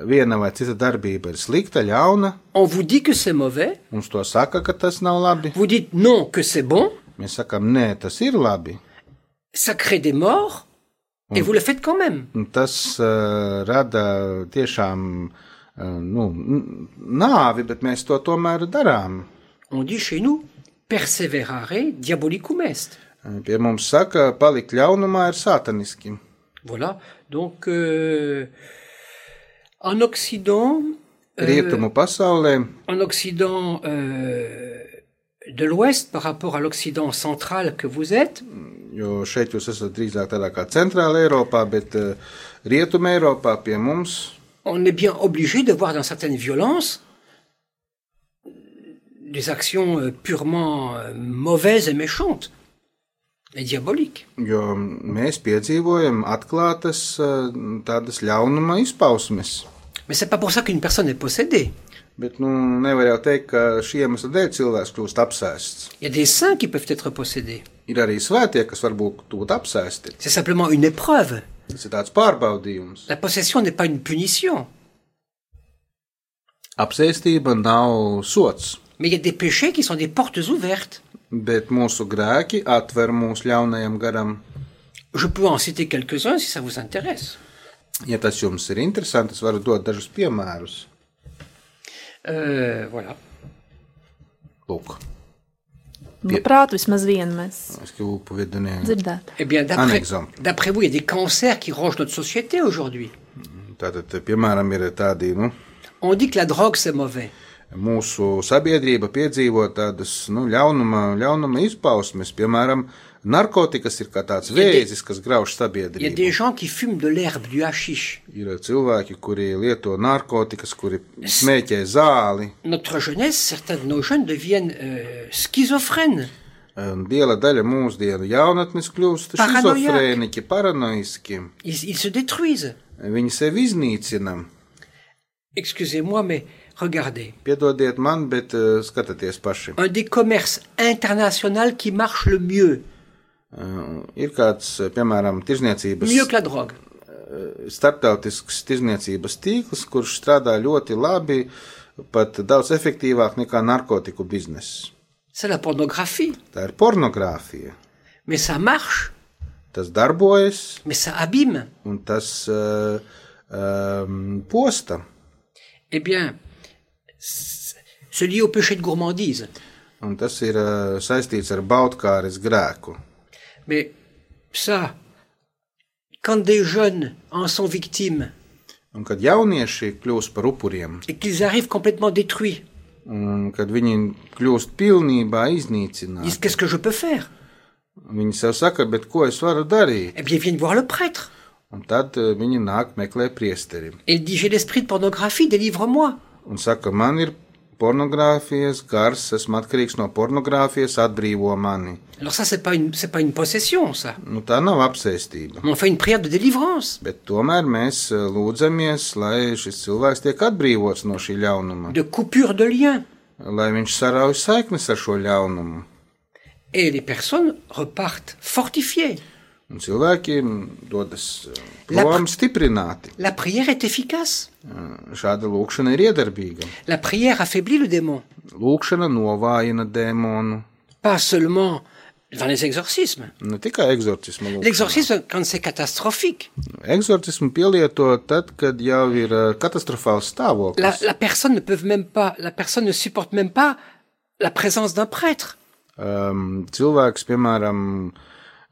viena vai cita darbība ir slikta, ļauna. On vous dit que c'est mauvais. Mums to saka, ka tas nav labi. Vous dites non, que c'est bon. Mēs sakām, nē, tas ir labi. Ça crée des morts. Et vous le faites quand même. Un tas uh, rada tiešām uh, nu, n- nāvi, bet mēs to tomēr darām. On dit chez nous, persévérare diabolicum est. Eh, Pie mums saka, palikt ļaunumā ir sataniski. Voilà. Donc, euh, en Occident, Rietumu pasaulē, en Occident euh, de l'Ouest par rapport à l'Occident central que vous êtes, jo šeit jūs esat drīzāk tādā kā centrāla Eiropā, bet uh, rietuma Eiropā pie mums on est bien obligé de voir dans certaines violences des actions euh, purement euh, mauvaises et méchantes et diaboliques. Jo mēs piedzīvojam atklātas eh, tādas ļaunuma izpausmes. Mais c'est pas pour ça qu'une personne est possédée. Bet nu, nevar jau teikt, ka šī iemesla dēļ cilvēks kļūst apsēsts. Il y a des saints qui peuvent être possédés. Ir arī svētie, kas varbūt būtu apsēsti. C'est simplement une épreuve. Tas ir tāds pārbaudījums. La possession n'est pas une punition. Apsēstība nav sots, Mais il y a des péchés qui sont des portes ouvertes. bet mūsu grēki atver mūsu ļaunajam garam. Je peux en citer quelques-uns si ça vous intéresse. Ja tas jums ir interesanti, es varu dot dažus piemērus. Euh, voilà. Lūk, Manuprāt, Nu, vismaz vienu mēs es kļuvu par vidunieci. dzirdētu. Eh bien, Un d'après, exemple. d'après vous, il y a des cancers qui rongent notre société aujourd'hui. Tātad, piemēram, ir tādi, nu, On dit que la drogue, c'est mauvais. mūsu sabiedrība piedzīvo tādas nu, ļaunuma, ļaunuma izpausmes, piemēram, narkotikas ir kā tāds vēzis, kas grauž Il y a des sabiedrību. gens qui fument de l'herbe, du hashish. Ir uh, cilvēki, kuri lieto narkotikas, kuri smēķē zāli. Notre jeunesse, certains de nos jeunes deviennent euh, schizophrènes. Un Liela daļa mūsdienu jaunatnes kļūst Paranojāki. schizofrēniķi, paranoiski. Ils, ils se détruisent. Viņi sevi iznīcina. Excusez-moi, mais regardez. Piedodiet man, bet eh, skatieties paši. Un des commerces internationaux qui marche le mieux, Eh, Ir kāds, eh, piemēram, tirzniecības mieux que la drogue. starptautisks tirzniecības tīkls, kurš strādā ļoti labi, pat daudz efektīvāk nekā narkotiku bizness. C'est la pornographie. Tā ir pornogrāfija. Mais ça marche, Tas darbojas mais ça abîme. un tas uh, um, posta. Eh bien, c- se lier au péché de gourmandise. Un tas ir uh, saistīts ar baudkāres grēku. Mais ça, quand des jeunes en sont victimes Un kad jaunieši kļūst par upuriem, et qu'ils arrivent complètement détruits, un kad viņi kļūst pilnībā ils disent iznīcināti, qu'est-ce que je peux faire viņi sev saka, bet ko es varu darīt? Eh bien, ils viennent voir le prêtre. Un tad uh, viņi nāk meklē priesteri. Et il dit, j'ai l'esprit de pornographie, délivre-moi. un saka, man ir pornogrāfijas gars, esmu atkarīgs no pornogrāfijas, atbrīvo mani. Alors ça, c'est pas une, c'est pas une possession, ça. Nu, tā nav apsēstība. On fait une prière de délivrance, Bet tomēr mēs eh, lūdzamies, lai šis cilvēks tiek atbrīvots no šī ļaunuma, de coupure de lien. lai viņš sarauj saiknes ar šo ļaunumu. Et les personnes repartent fortifiées. Un cilvēki dodas eh, prom Labāk. stiprināti. La prière est efficace. Eh, Šāda lūkšana ir iedarbīga. La prière affaiblit le démon. Lūkšana novājina dēmonu, Pas seulement dans les exorcismes. ne tikai eksorcismu lūkšana. L'exorcisme, quand c'est catastrophique, Eksorcismu pielieto tad, kad jau ir eh, katastrofāls stāvoklis. la, la personne ne peut même pas, la personne ne supporte même pas la présence d'un prêtre, Um, cilvēks, piemēram,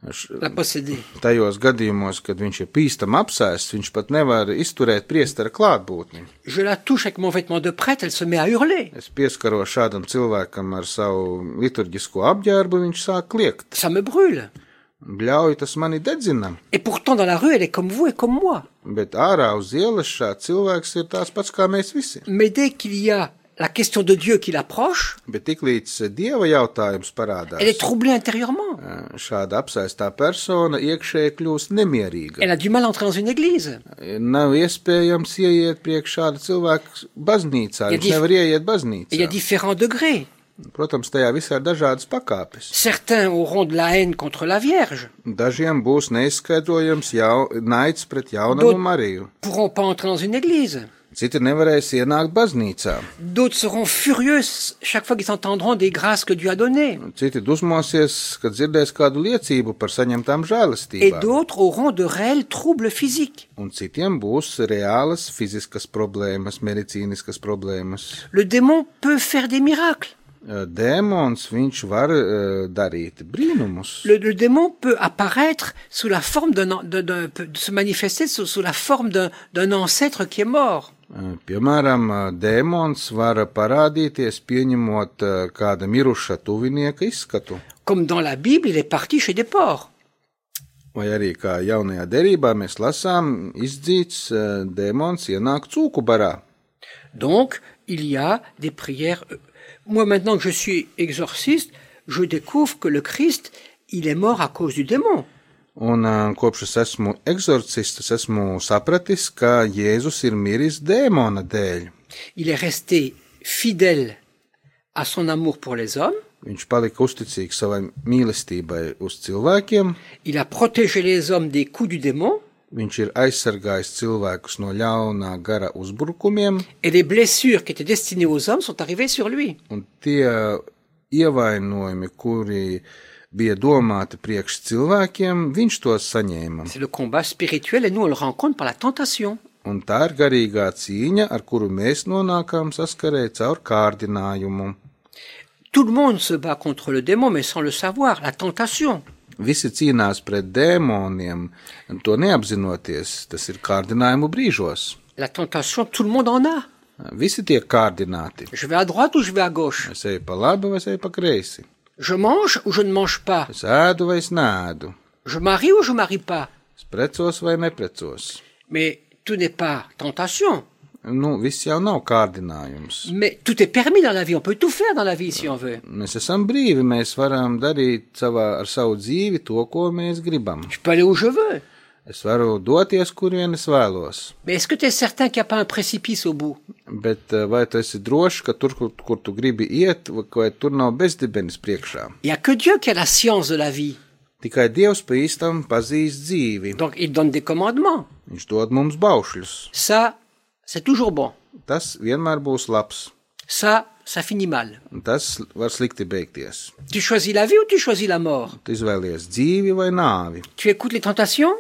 š- la posséder. tajos gadījumos, kad viņš ir pīstam apsēsts, viņš pat nevar izturēt priestera klātbūtni. Je la touche avec mon vêtement de prêtre, elle se met à hurler. Es pieskaros šādam cilvēkam ar savu liturģisko apģērbu, viņš sāk kliegt. Ça me brûle. Bļauj, tas mani dedzina, Et pourtant, dans la rue, elle est comme vous et comme moi. bet ārā uz ielas šāds cilvēks ir tās pats kā mēs visi. Mais dès qu'il y a la question de Dieu qui l'approche, Bet tiklīdz dieva jautājums elle est parādās, troublée intérieurement. šāda apsēstā persona iekšēji kļūst nemierīga. Elle a du mal à entrer dans une église. Nav iespējams ieiet priekš šāda cilvēka baznīcā. Ja Viņš dif- nevar ieiet Et il y a baznīcā. différents degrés. Protams, tajā visā ir dažādas pakāpes. Certains auront de la haine contre la Vierge, Dažiem būs neizskaidrojams jau, naids pret jaunumu Dod- Mariju. pourront pas entrer dans une église. Citi nevarēs ienākt baznīcā. D'autres seront furieux chaque fois qu'ils entendront des grâces que Dieu a données. Citi dusmosies, kad dzirdēs kādu liecību par saņemtām Et žēlastībām. d'autres auront de réels troubles physiques. Un citiem būs reālas fiziskas problēmas, medicīniskas problēmas. Le démon peut faire des miracles. Eh, Dēmons viņš var eh, darīt brīnumus. Le, le démon peut apparaître sous la forme d'un, an- d'un- d'un- peut se manifester sous, sous la forme d'un, d'un ancêtre qui est mort. Piemēram, dēmons var parādīties pieņemot eh, kāda miruša tuvinieka izskatu, Comme dans la Bible, il est parti chez des porcs. vai arī kā jaunajā derībā mēs lasām, izdzīts eh, dēmons ienāk cūku barā. Donc, il y a des prières. euh, Moi, maintenant que je suis exorciste, je découvre que le Christ, il est mort à cause du démon. Un eh, kopš es esmu eksorcists, es esmu sapratis, ka Jēzus ir miris dēmona dēļ. Il est resté fidèle à son amour pour les hommes. Viņš palika uzticīgs savai mīlestībai uz cilvēkiem, Il a protégé les hommes des coups du démon viņš ir aizsargājis cilvēkus no ļaunā gara uzbrukumiem. et les blessures qui étaient destinées aux hommes sont arrivées sur lui. Un tie ievainojumi, kuri bija domāti priekš cilvēkiem, viņš tos saņēma. C'est le combat spirituel et nous on le rencontre par la tentation. Un tā ir garīgā cīņa, ar kuru mēs nonākām saskarē caur kārdinājumu. Tout le monde se bat contre le démon mais sans le savoir, la tentation. Visi cīnās pret dēmoniem, to neapzinoties, tas ir kārdinājumu brīžos. La tentation, tout le monde en a. Visi tiek kārdināti. Je vais à droite ou je vais à gauche Es eju pa labi vai es eju pa kreisi. Je mange ou je ne mange pas Es ēdu vai es nēdu. Je marie ou je marie pas Es precos vai neprecos. Mais tout n'est pas tentation. Nu, viss jau nav kārdinājums. Mais tout est permis dans la vie, on peut tout faire dans la vie si on veut. Mēs esam brīvi, mēs varam darīt savā, ar savu dzīvi to, ko mēs gribam. Je peux aller où je veux. Es varu doties, kur vien es vēlos. Mais est-ce que tu es certain qu'il n'y a pas un précipice au bout Bet eh, vai tu esi drošs, ka tur, kur, kur tu gribi iet, vai tur nav bezdibenis priekšā? Il n'y a que Dieu qui a la science de la vie. Tikai Dievs pa īstam pazīst dzīvi. Donc il donne des commandements. Viņš dod mums baušļus. Ça, c'est toujours bon. Tas vienmēr būs labs, Ça, ça finit mal. un tas var slikti beigties. Tu choisis la vie ou tu choisis la mort Tu izvēlies dzīvi vai nāvi. Tu écoutes les tentations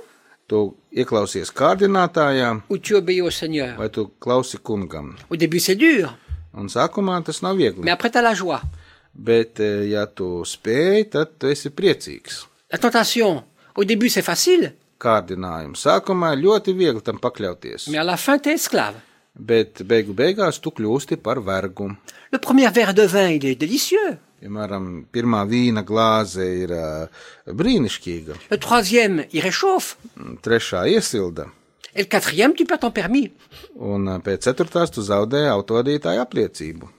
Tu ieklausies kārdinātājā, ou tu obéis au Seigneur vai tu klausi kungam. Au début, c'est dur, Un sākumā tas nav viegli. mais après, tu as la joie. Bet, eh, ja tu spēj, tad tu esi priecīgs. La tentation, au début, c'est facile, Kārdinājumu sākumā ļoti viegli tam pakļauties, mais à la fin, tu es esclave. bet beigu beigās tu kļūsti par vergu. Le premier verre de vin, il est délicieux. Piemēram, pirmā vīna glāze ir eh, brīnišķīga, Le troisième, il réchauffe. un trešā iesilda. Et le quatrième, tu perds ton permis. Un ā, pēc ceturtās tu zaudē autovadītāju apliecību.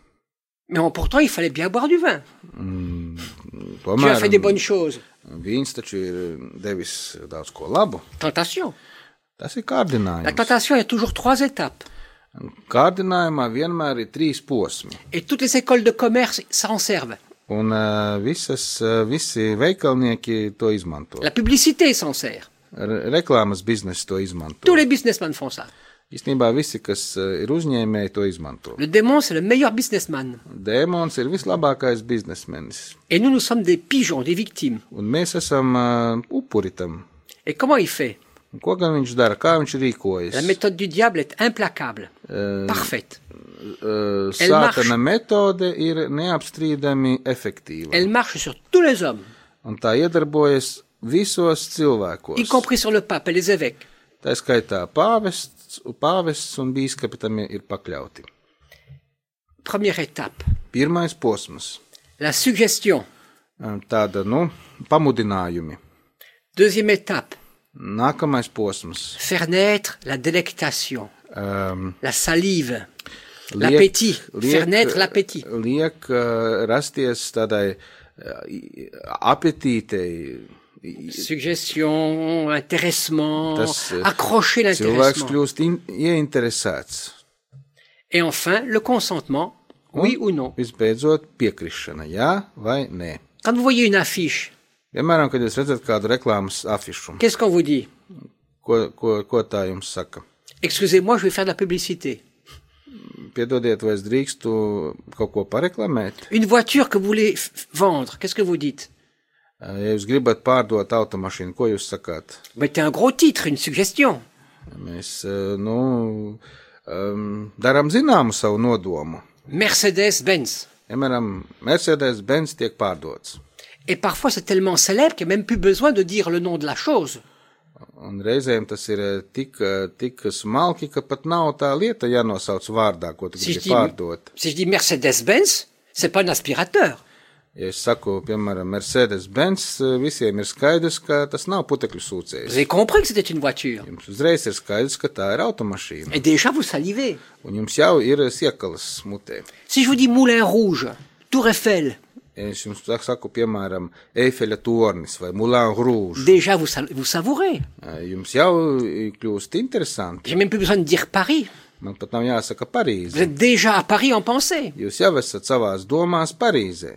Mais en- pourtant, il fallait bien boire du vin. Tu as Tomēr fait des bonnes choses. viņš taču ir devis daudz ko labu. Tentation. Tas ir La kārdinājums. tentation, il y a toujours trois étapes. Kārdinājumā vienmēr ir trīs posmi. Et toutes les écoles de commerce s'en servent. Un ā, visas, ā, visi veikalnieki to izmanto. La publicité s'en sert. Re- Reklāmas biznesa to Tous izmanto. les businessmen font ça. Īstenībā visi, kas ā, ir uzņēmēji, to izmanto. Le démon, c'est le meilleur businessman. Dēmons ir vislabākais biznesmenis, Et nous, nous sommes des pigeons, des victimes. un mēs esam ā, upuri tam. Et comment il fait Un Ko gan viņš dara, kā viņš La rīkojas? méthode du diable est implacable, Euh, parfaite. Uh, Elle marche. Sātana metode ir neapstrīdami efektīva. Elle marche sur tous les hommes, Un tā iedarbojas visos y cilvēkos. compris sur le pape et les évêques. Tā skaitā pāvests, pāvests un bīskapi tam ir pakļauti. Première étape, Pirmais posms la suggestion. Um, tāda, nu, pamudinājumi. Deuxième étape, Nākamais posms faire naître la délectation, um, la salive, l'appétit, faire naître l'appétit. liek uh, rasties tādai uh, i- apetītei. i- Suggestion, intéressement, Tas, euh, accrocher Cilvēks l'intéressement. kļūst in, ieinteresēts. Et enfin, le consentement, Hein oui ou non. Visbeidzot, piekrišana, jā vai nē. Quand vous voyez une affiche, Piemēram, kad jūs redzat kādu reklāmas afišu, qu'est-ce qu'on vous dit ko, ko, ko tā jums saka? Excusez-moi, je vais faire de la publicité. Piedodiet, vai es drīkstu kaut ko pareklamēt? Eh, Une voiture que vous voulez f- f- vendre, qu'est-ce que vous dites Ja jūs gribat pārdot automašīnu, ko jūs sakāt? Mettez un gros titre, une suggestion. Mēs, eh, nu, um, darām zināmu savu nodomu. Mercedes-Benz. Piemēram, Mercedes-Benz tiek pārdots. Et parfois, c'est tellement célèbre qu'il n'y a même plus besoin de dire le nom de la chose. Un reizēm tas ir eh, tik, eh, tik smalki, ka pat nav tā lieta jānosauc vārdā, ko tu Si je gribi dis, pārdot. si je dis Mercedes-Benz, c'est pas un aspirateur. Ja es saku, piemēram, Mercedes-Benz, visiem ir skaidrs, ka tas nav putekļu sūcējs. Vous avez compris que c'était une voiture. Jums uzreiz ir skaidrs, ka tā ir automašīna, Et déjà, vous salivez. un jums jau ir eh, siekalas mutē. Si je vous dis Moulin Rouge, Tour Eiffel, Es jums sak- saku, piemēram, Eifeļa tornis vai Moulin Rouge. déjà, vous, sal- vous savourez. Э, Jums jau kļūst interesanti. J'ai même plus besoin de dire Paris. Man pat nav jāsaka Vous Parīze. êtes déjà à Paris en pensée. Jūs jau esat savās domās Parīzē.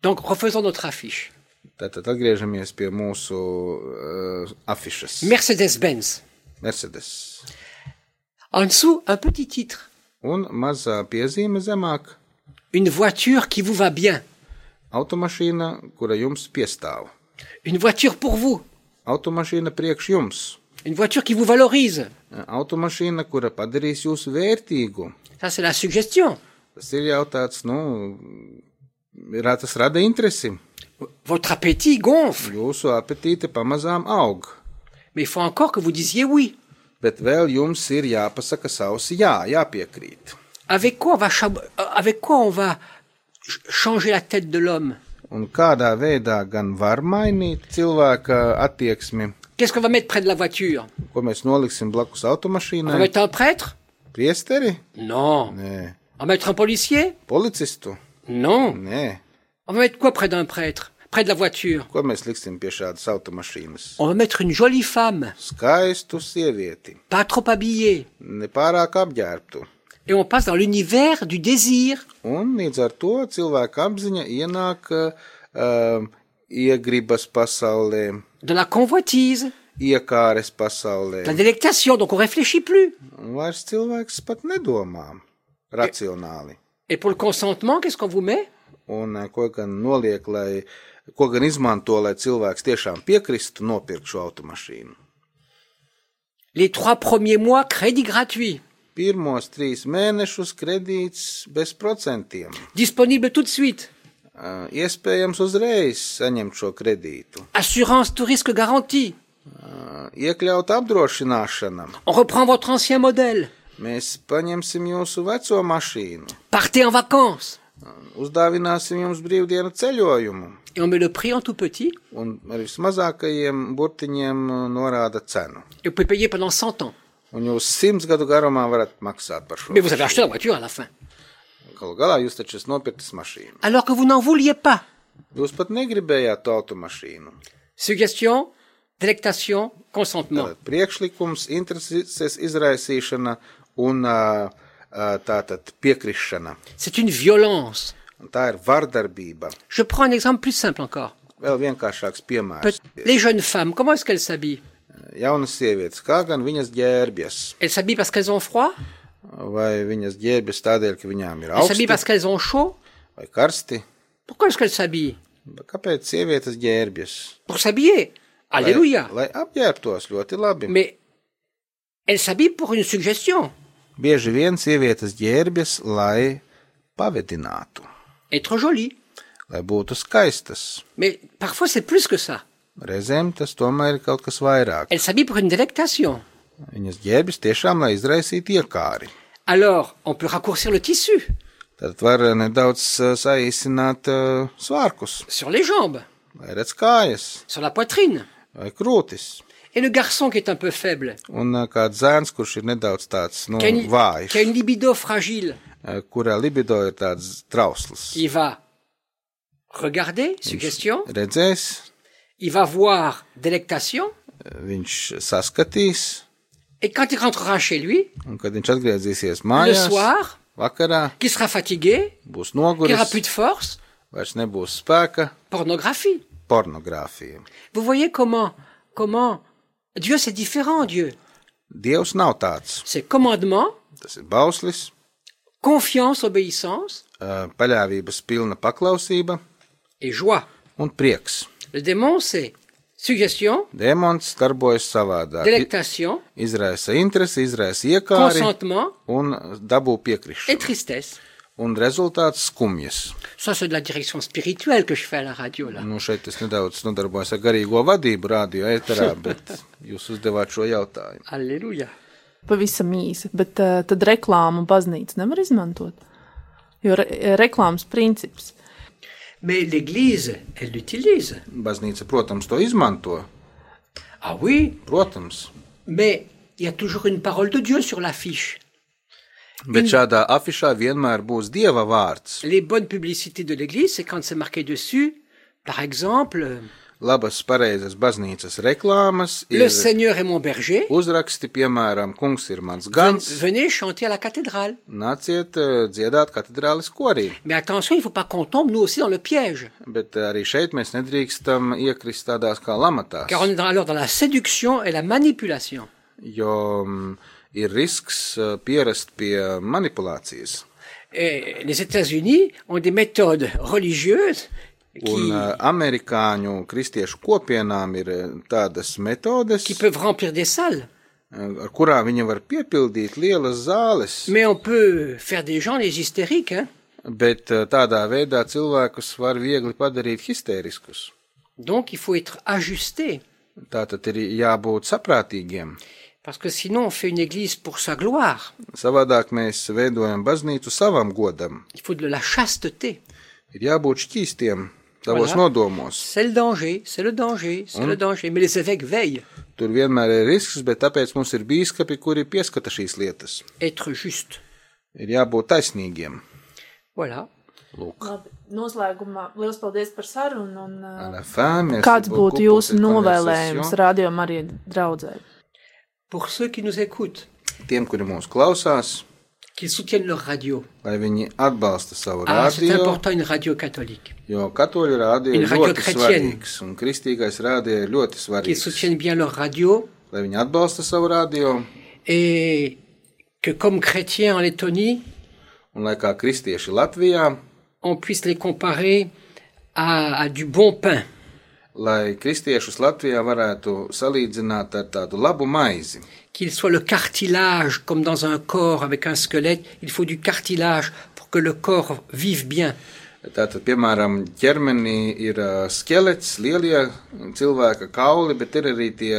Donc, refaisons notre affiche. Tātad atgriežamies pie mūsu uh, afišas. Mercedes-Benz. Mercedes. En dessous, un petit titre. Un mazā piezīme zemāk. Une voiture qui vous va bien. Automašīna, kura jums piestāv. Une voiture pour vous. Automašīna priekš jums. Eh, Une voiture qui vous valorise. Automašīna, kura padarīs jūs vērtīgu. Ça, c'est la suggestion. Tas ir jau tāds, nu, ra- tas rada interesi. Votre appétit gonfle. Jūsu apetīte pamazām aug. Mais il faut encore que vous disiez oui. Bet vēl jums ir jāpasaka savs jā, jāpiekrīt. Avec quoi on va, chab- euh, avec quoi on va ch- changer la tête de l'homme Un kādā veidā gan var mainīt cilvēka attieksmi, Qu'est-ce qu'on va mettre près de la voiture ko mēs noliksim blakus On va automašīnai? mettre un prêtre Priesteri? Non. Nē. On va mettre un policier Policistu? Non. Nē. On va mettre quoi près d'un prêtre Près de la voiture Ko mēs liksim pie šādas automašīnas? On va mettre une jolie femme, skaistu sievieti, pas trop habillée. nepārāk apģērbtu. Et on passe dans l'univers du désir. Un līdz ar to cilvēka apziņa ienāk uh, iegribas pasaulē, de la convoitise, iekāres de la pasaulē. délectation, donc on réfléchit plus. Un vairs cilvēks pat nedomā racionāli. Et pour le consentement, qu'est-ce qu'on vous met Un eh, ko gan noliek, lai, ko gan izmanto, lai cilvēks tiešām piekristu nopirkt šo automašīnu. Les trois premiers mois, crédit gratuit, Pirmos trīs mēnešus kredīts bez procentiem. disponible tout de suite. Eh, Iespējams uzreiz saņemt šo kredītu. Eh, Assurance tout risque garanti. iekļaut apdrošināšana. On reprend votre ancien modèle. Mēs paņemsim jūsu veco mašīnu, Eh, Partez en vacances. uzdāvināsim jums brīvdienu ceļojumu Et on met le prix en tout petit. un ar vismazākajiem burtiņiem uh, norāda cenu. Et vous pouvez payer pendant 100 ans. Un jūs simts gadu garumā varat maksāt par šo. Mais vous avez acheté la voiture à la fin. Galu galā jūs taču esat nopirktas mašīnu. Alors que vous n'en vouliez pas. Jūs pat negribējāt to automašīnu. Suggestion, délectation, consentement. Tātad priekšlikums, intereses izraisīšana un ā, ā, tātad piekrišana. C'est une violence. Un tā ir vardarbība. Je prends un exemple plus simple encore. Vēl vienkāršāks Peut- piemērs. Les jeunes femmes, comment est-ce qu'elles s'habillent Jaunas sievietes, kā gan viņas ģērbjas? Elles s'habillent parce qu'elles ont froid Vai viņas ģērbjas tādēļ, ka viņām ir Elles s'habillent augsti parce qu'elles ont chaud vai karsti? Pourquoi est-ce qu'elles s'habillent Bet Kāpēc sievietes ģērbjas? Pour s'habiller. Lai, Alléluia. lai apģērbtos ļoti labi. Mais elles s'habillent pour une suggestion. Bieži vien sievietes ģērbjas, lai pavedinātu, Être jolie. lai būtu skaistas. Mais parfois c'est plus que ça. Reizēm tas tomēr ir kaut kas vairāk. Elles s'habillent pour une délectation. Viņas ģērbjas tiešām, lai izraisītu iekāri. Alors, on peut raccourcir le tissu Tad var eh, nedaudz eh, saīsināt eh, svārkus, sur les jambes, lai redz kājas sur la poitrine. vai krūtis. Et le garçon qui est un peu faible, Un eh, kāds zēns, kurš ir nedaudz tāds nu, qui a une, vājš, qui a une libido fragile, eh, kurā libido ir tāds trausls, il va regarder, suggestion, redzēs, il va voir délectation, eh, viņš saskatīs, et quand il rentrera chez lui, un kad viņš atgriezīsies le mājās, soir, vakarā qui sera fatigué, būs qui n'aura noguris, plus de force, vairs nebūs spēka pornographie. pornogrāfija. Vous voyez comment, comment Dieu c'est différent, Dieu. Dievs nav tāds. C'est commandement, Tas ir bauslis, confiance, obéissance eh, paļāvības pilna paklausība et joie. un prieks. Le démon c'est suggestion, Dēmons darbojas savādāk. délectation, I- Izraisa interesi, izraisa iekāri consentement un dabū et piekrišanu. tristesse. Un rezultāts skumjas. Ça, c'est de la direction spirituelle que je fais à la radio, là. Nu, šeit es nedaudz nodarbojos ar garīgo vadību rādio ēterā, bet jūs uzdevāt šo jautājumu. Alléluia. Pavisam īsi, bet uh, tad reklāmu baznīca nevar izmantot. Jo re reklāmas princips Mais l'Église, elle l'utilise. Baznīca, protams, to izmanto. Ah oui, Protams. mais il y a toujours une parole de Dieu sur l'affiche. Bet šādā afišā vienmēr būs dieva vārds. Les bonnes publicités de l'Église, c'est quand c'est marqué dessus, par exemple, euh, Labas, pareizas baznīcas reklāmas Le ir Seigneur est mon berger, uzraksti, piemēram, Kungs ir mans ven- gans. venez chanter à la cathédrale. Nāciet eh, dziedāt katedrālis korī, Mais attention, il ne faut pas qu'on tombe, nous aussi, dans le piège. bet eh, arī šeit mēs nedrīkstam iekrist tādās kā lamatās, Car on est dans- alors dans la séduction et la manipulation. jo mm, ir risks eh, pierast pie manipulācijas. Et les États-Unis ont des méthodes religieuses Un qui, eh, amerikāņu kristiešu kopienām ir eh, tādas metodes, qui peuvent remplir des salles. eh, ar kurām viņi var piepildīt lielas zāles, Mais on peut faire des gens les hystériques. Hein. bet eh, tādā veidā cilvēkus var viegli padarīt histēriskus. Donc il faut être ajusté. Tātad ir jābūt saprātīgiem. Parce que sinon, on fait une église pour sa gloire. Savādāk mēs veidojam baznīcu savam godam. Il faut de la chasteté. Ir jābūt šķīstiem savos Voilà. nodomos. C'est le danger, c'est le danger, c'est le danger. Mais les évêques veillent. Tur vienmēr ir risks, bet tāpēc mums ir bīskapi, kuri pieskata šīs lietas. Être juste. Ir jābūt taisnīgiem. Voilà. Lūk, Labi, noslēgumā liels paldies par sarunu. Un, uh, LFM, kāds būtu jūsu novēlējums rādījumam arī draudzēji? Pour ceux qui nous écoutent, Tiem, kuri mūs klausās, qu'ils soutiennent leur radio. lai viņi atbalsta savu Ah, c'est rādio, important, une radio catholique. jo katoļu rādio Une ir radio ļoti chrétienne. svarīgs, un kristīgais rādio ir ļoti Qu'ils svarīgs. soutiennent bien leur radio Lai viņi atbalsta savu rādio, et que, comme chrétiens en Lettonie, un lai kā kristieši Latvijā, on puisse les comparer à, à du bon pain. lai kristiešus Latvijā varētu salīdzināt ar tādu labu maizi. Qu'il soit le cartilage, comme dans un corps avec un squelette, il faut du cartilage pour que le corps vive bien. Tātad, piemēram, ķermenī ir ā, skelets, lielie cilvēka kauli, bet ir arī tie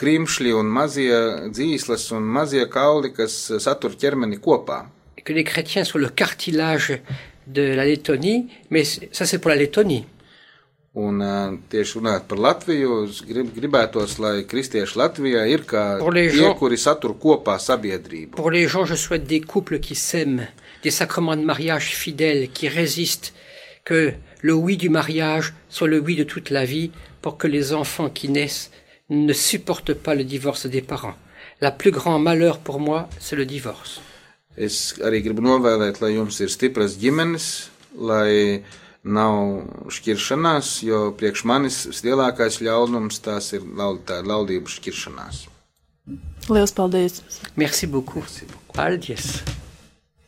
krimšļi un mazie dzīslas un mazie kauli, kas satur ķermeni kopā. Et que les chrétiens soient le cartilage de la Lettonie, mais c- ça c'est pour la Lettonie. Un, tieši runājot par Latviju, es grib, gribētos, lai kristieši Latvijā ir kā Par tie, liežo. kuri satur kopā sabiedrību. Pour les gens, je souhaite des couples qui s'aiment, des sacrements de mariage fidèles, qui résistent, que le oui du mariage soit le oui de toute la vie, pour que les enfants qui naissent ne supportent pas le divorce des parents. La plus grand malheur pour moi, c'est le divorce. Es arī gribu novēlēt, lai jums ir stipras ģimenes, lai nav šķiršanās, jo priekš manis vislielākais ļaunums tās ir laud, tā ir laulību šķiršanās. Lielas paldies! Merci beaucoup. Paldies.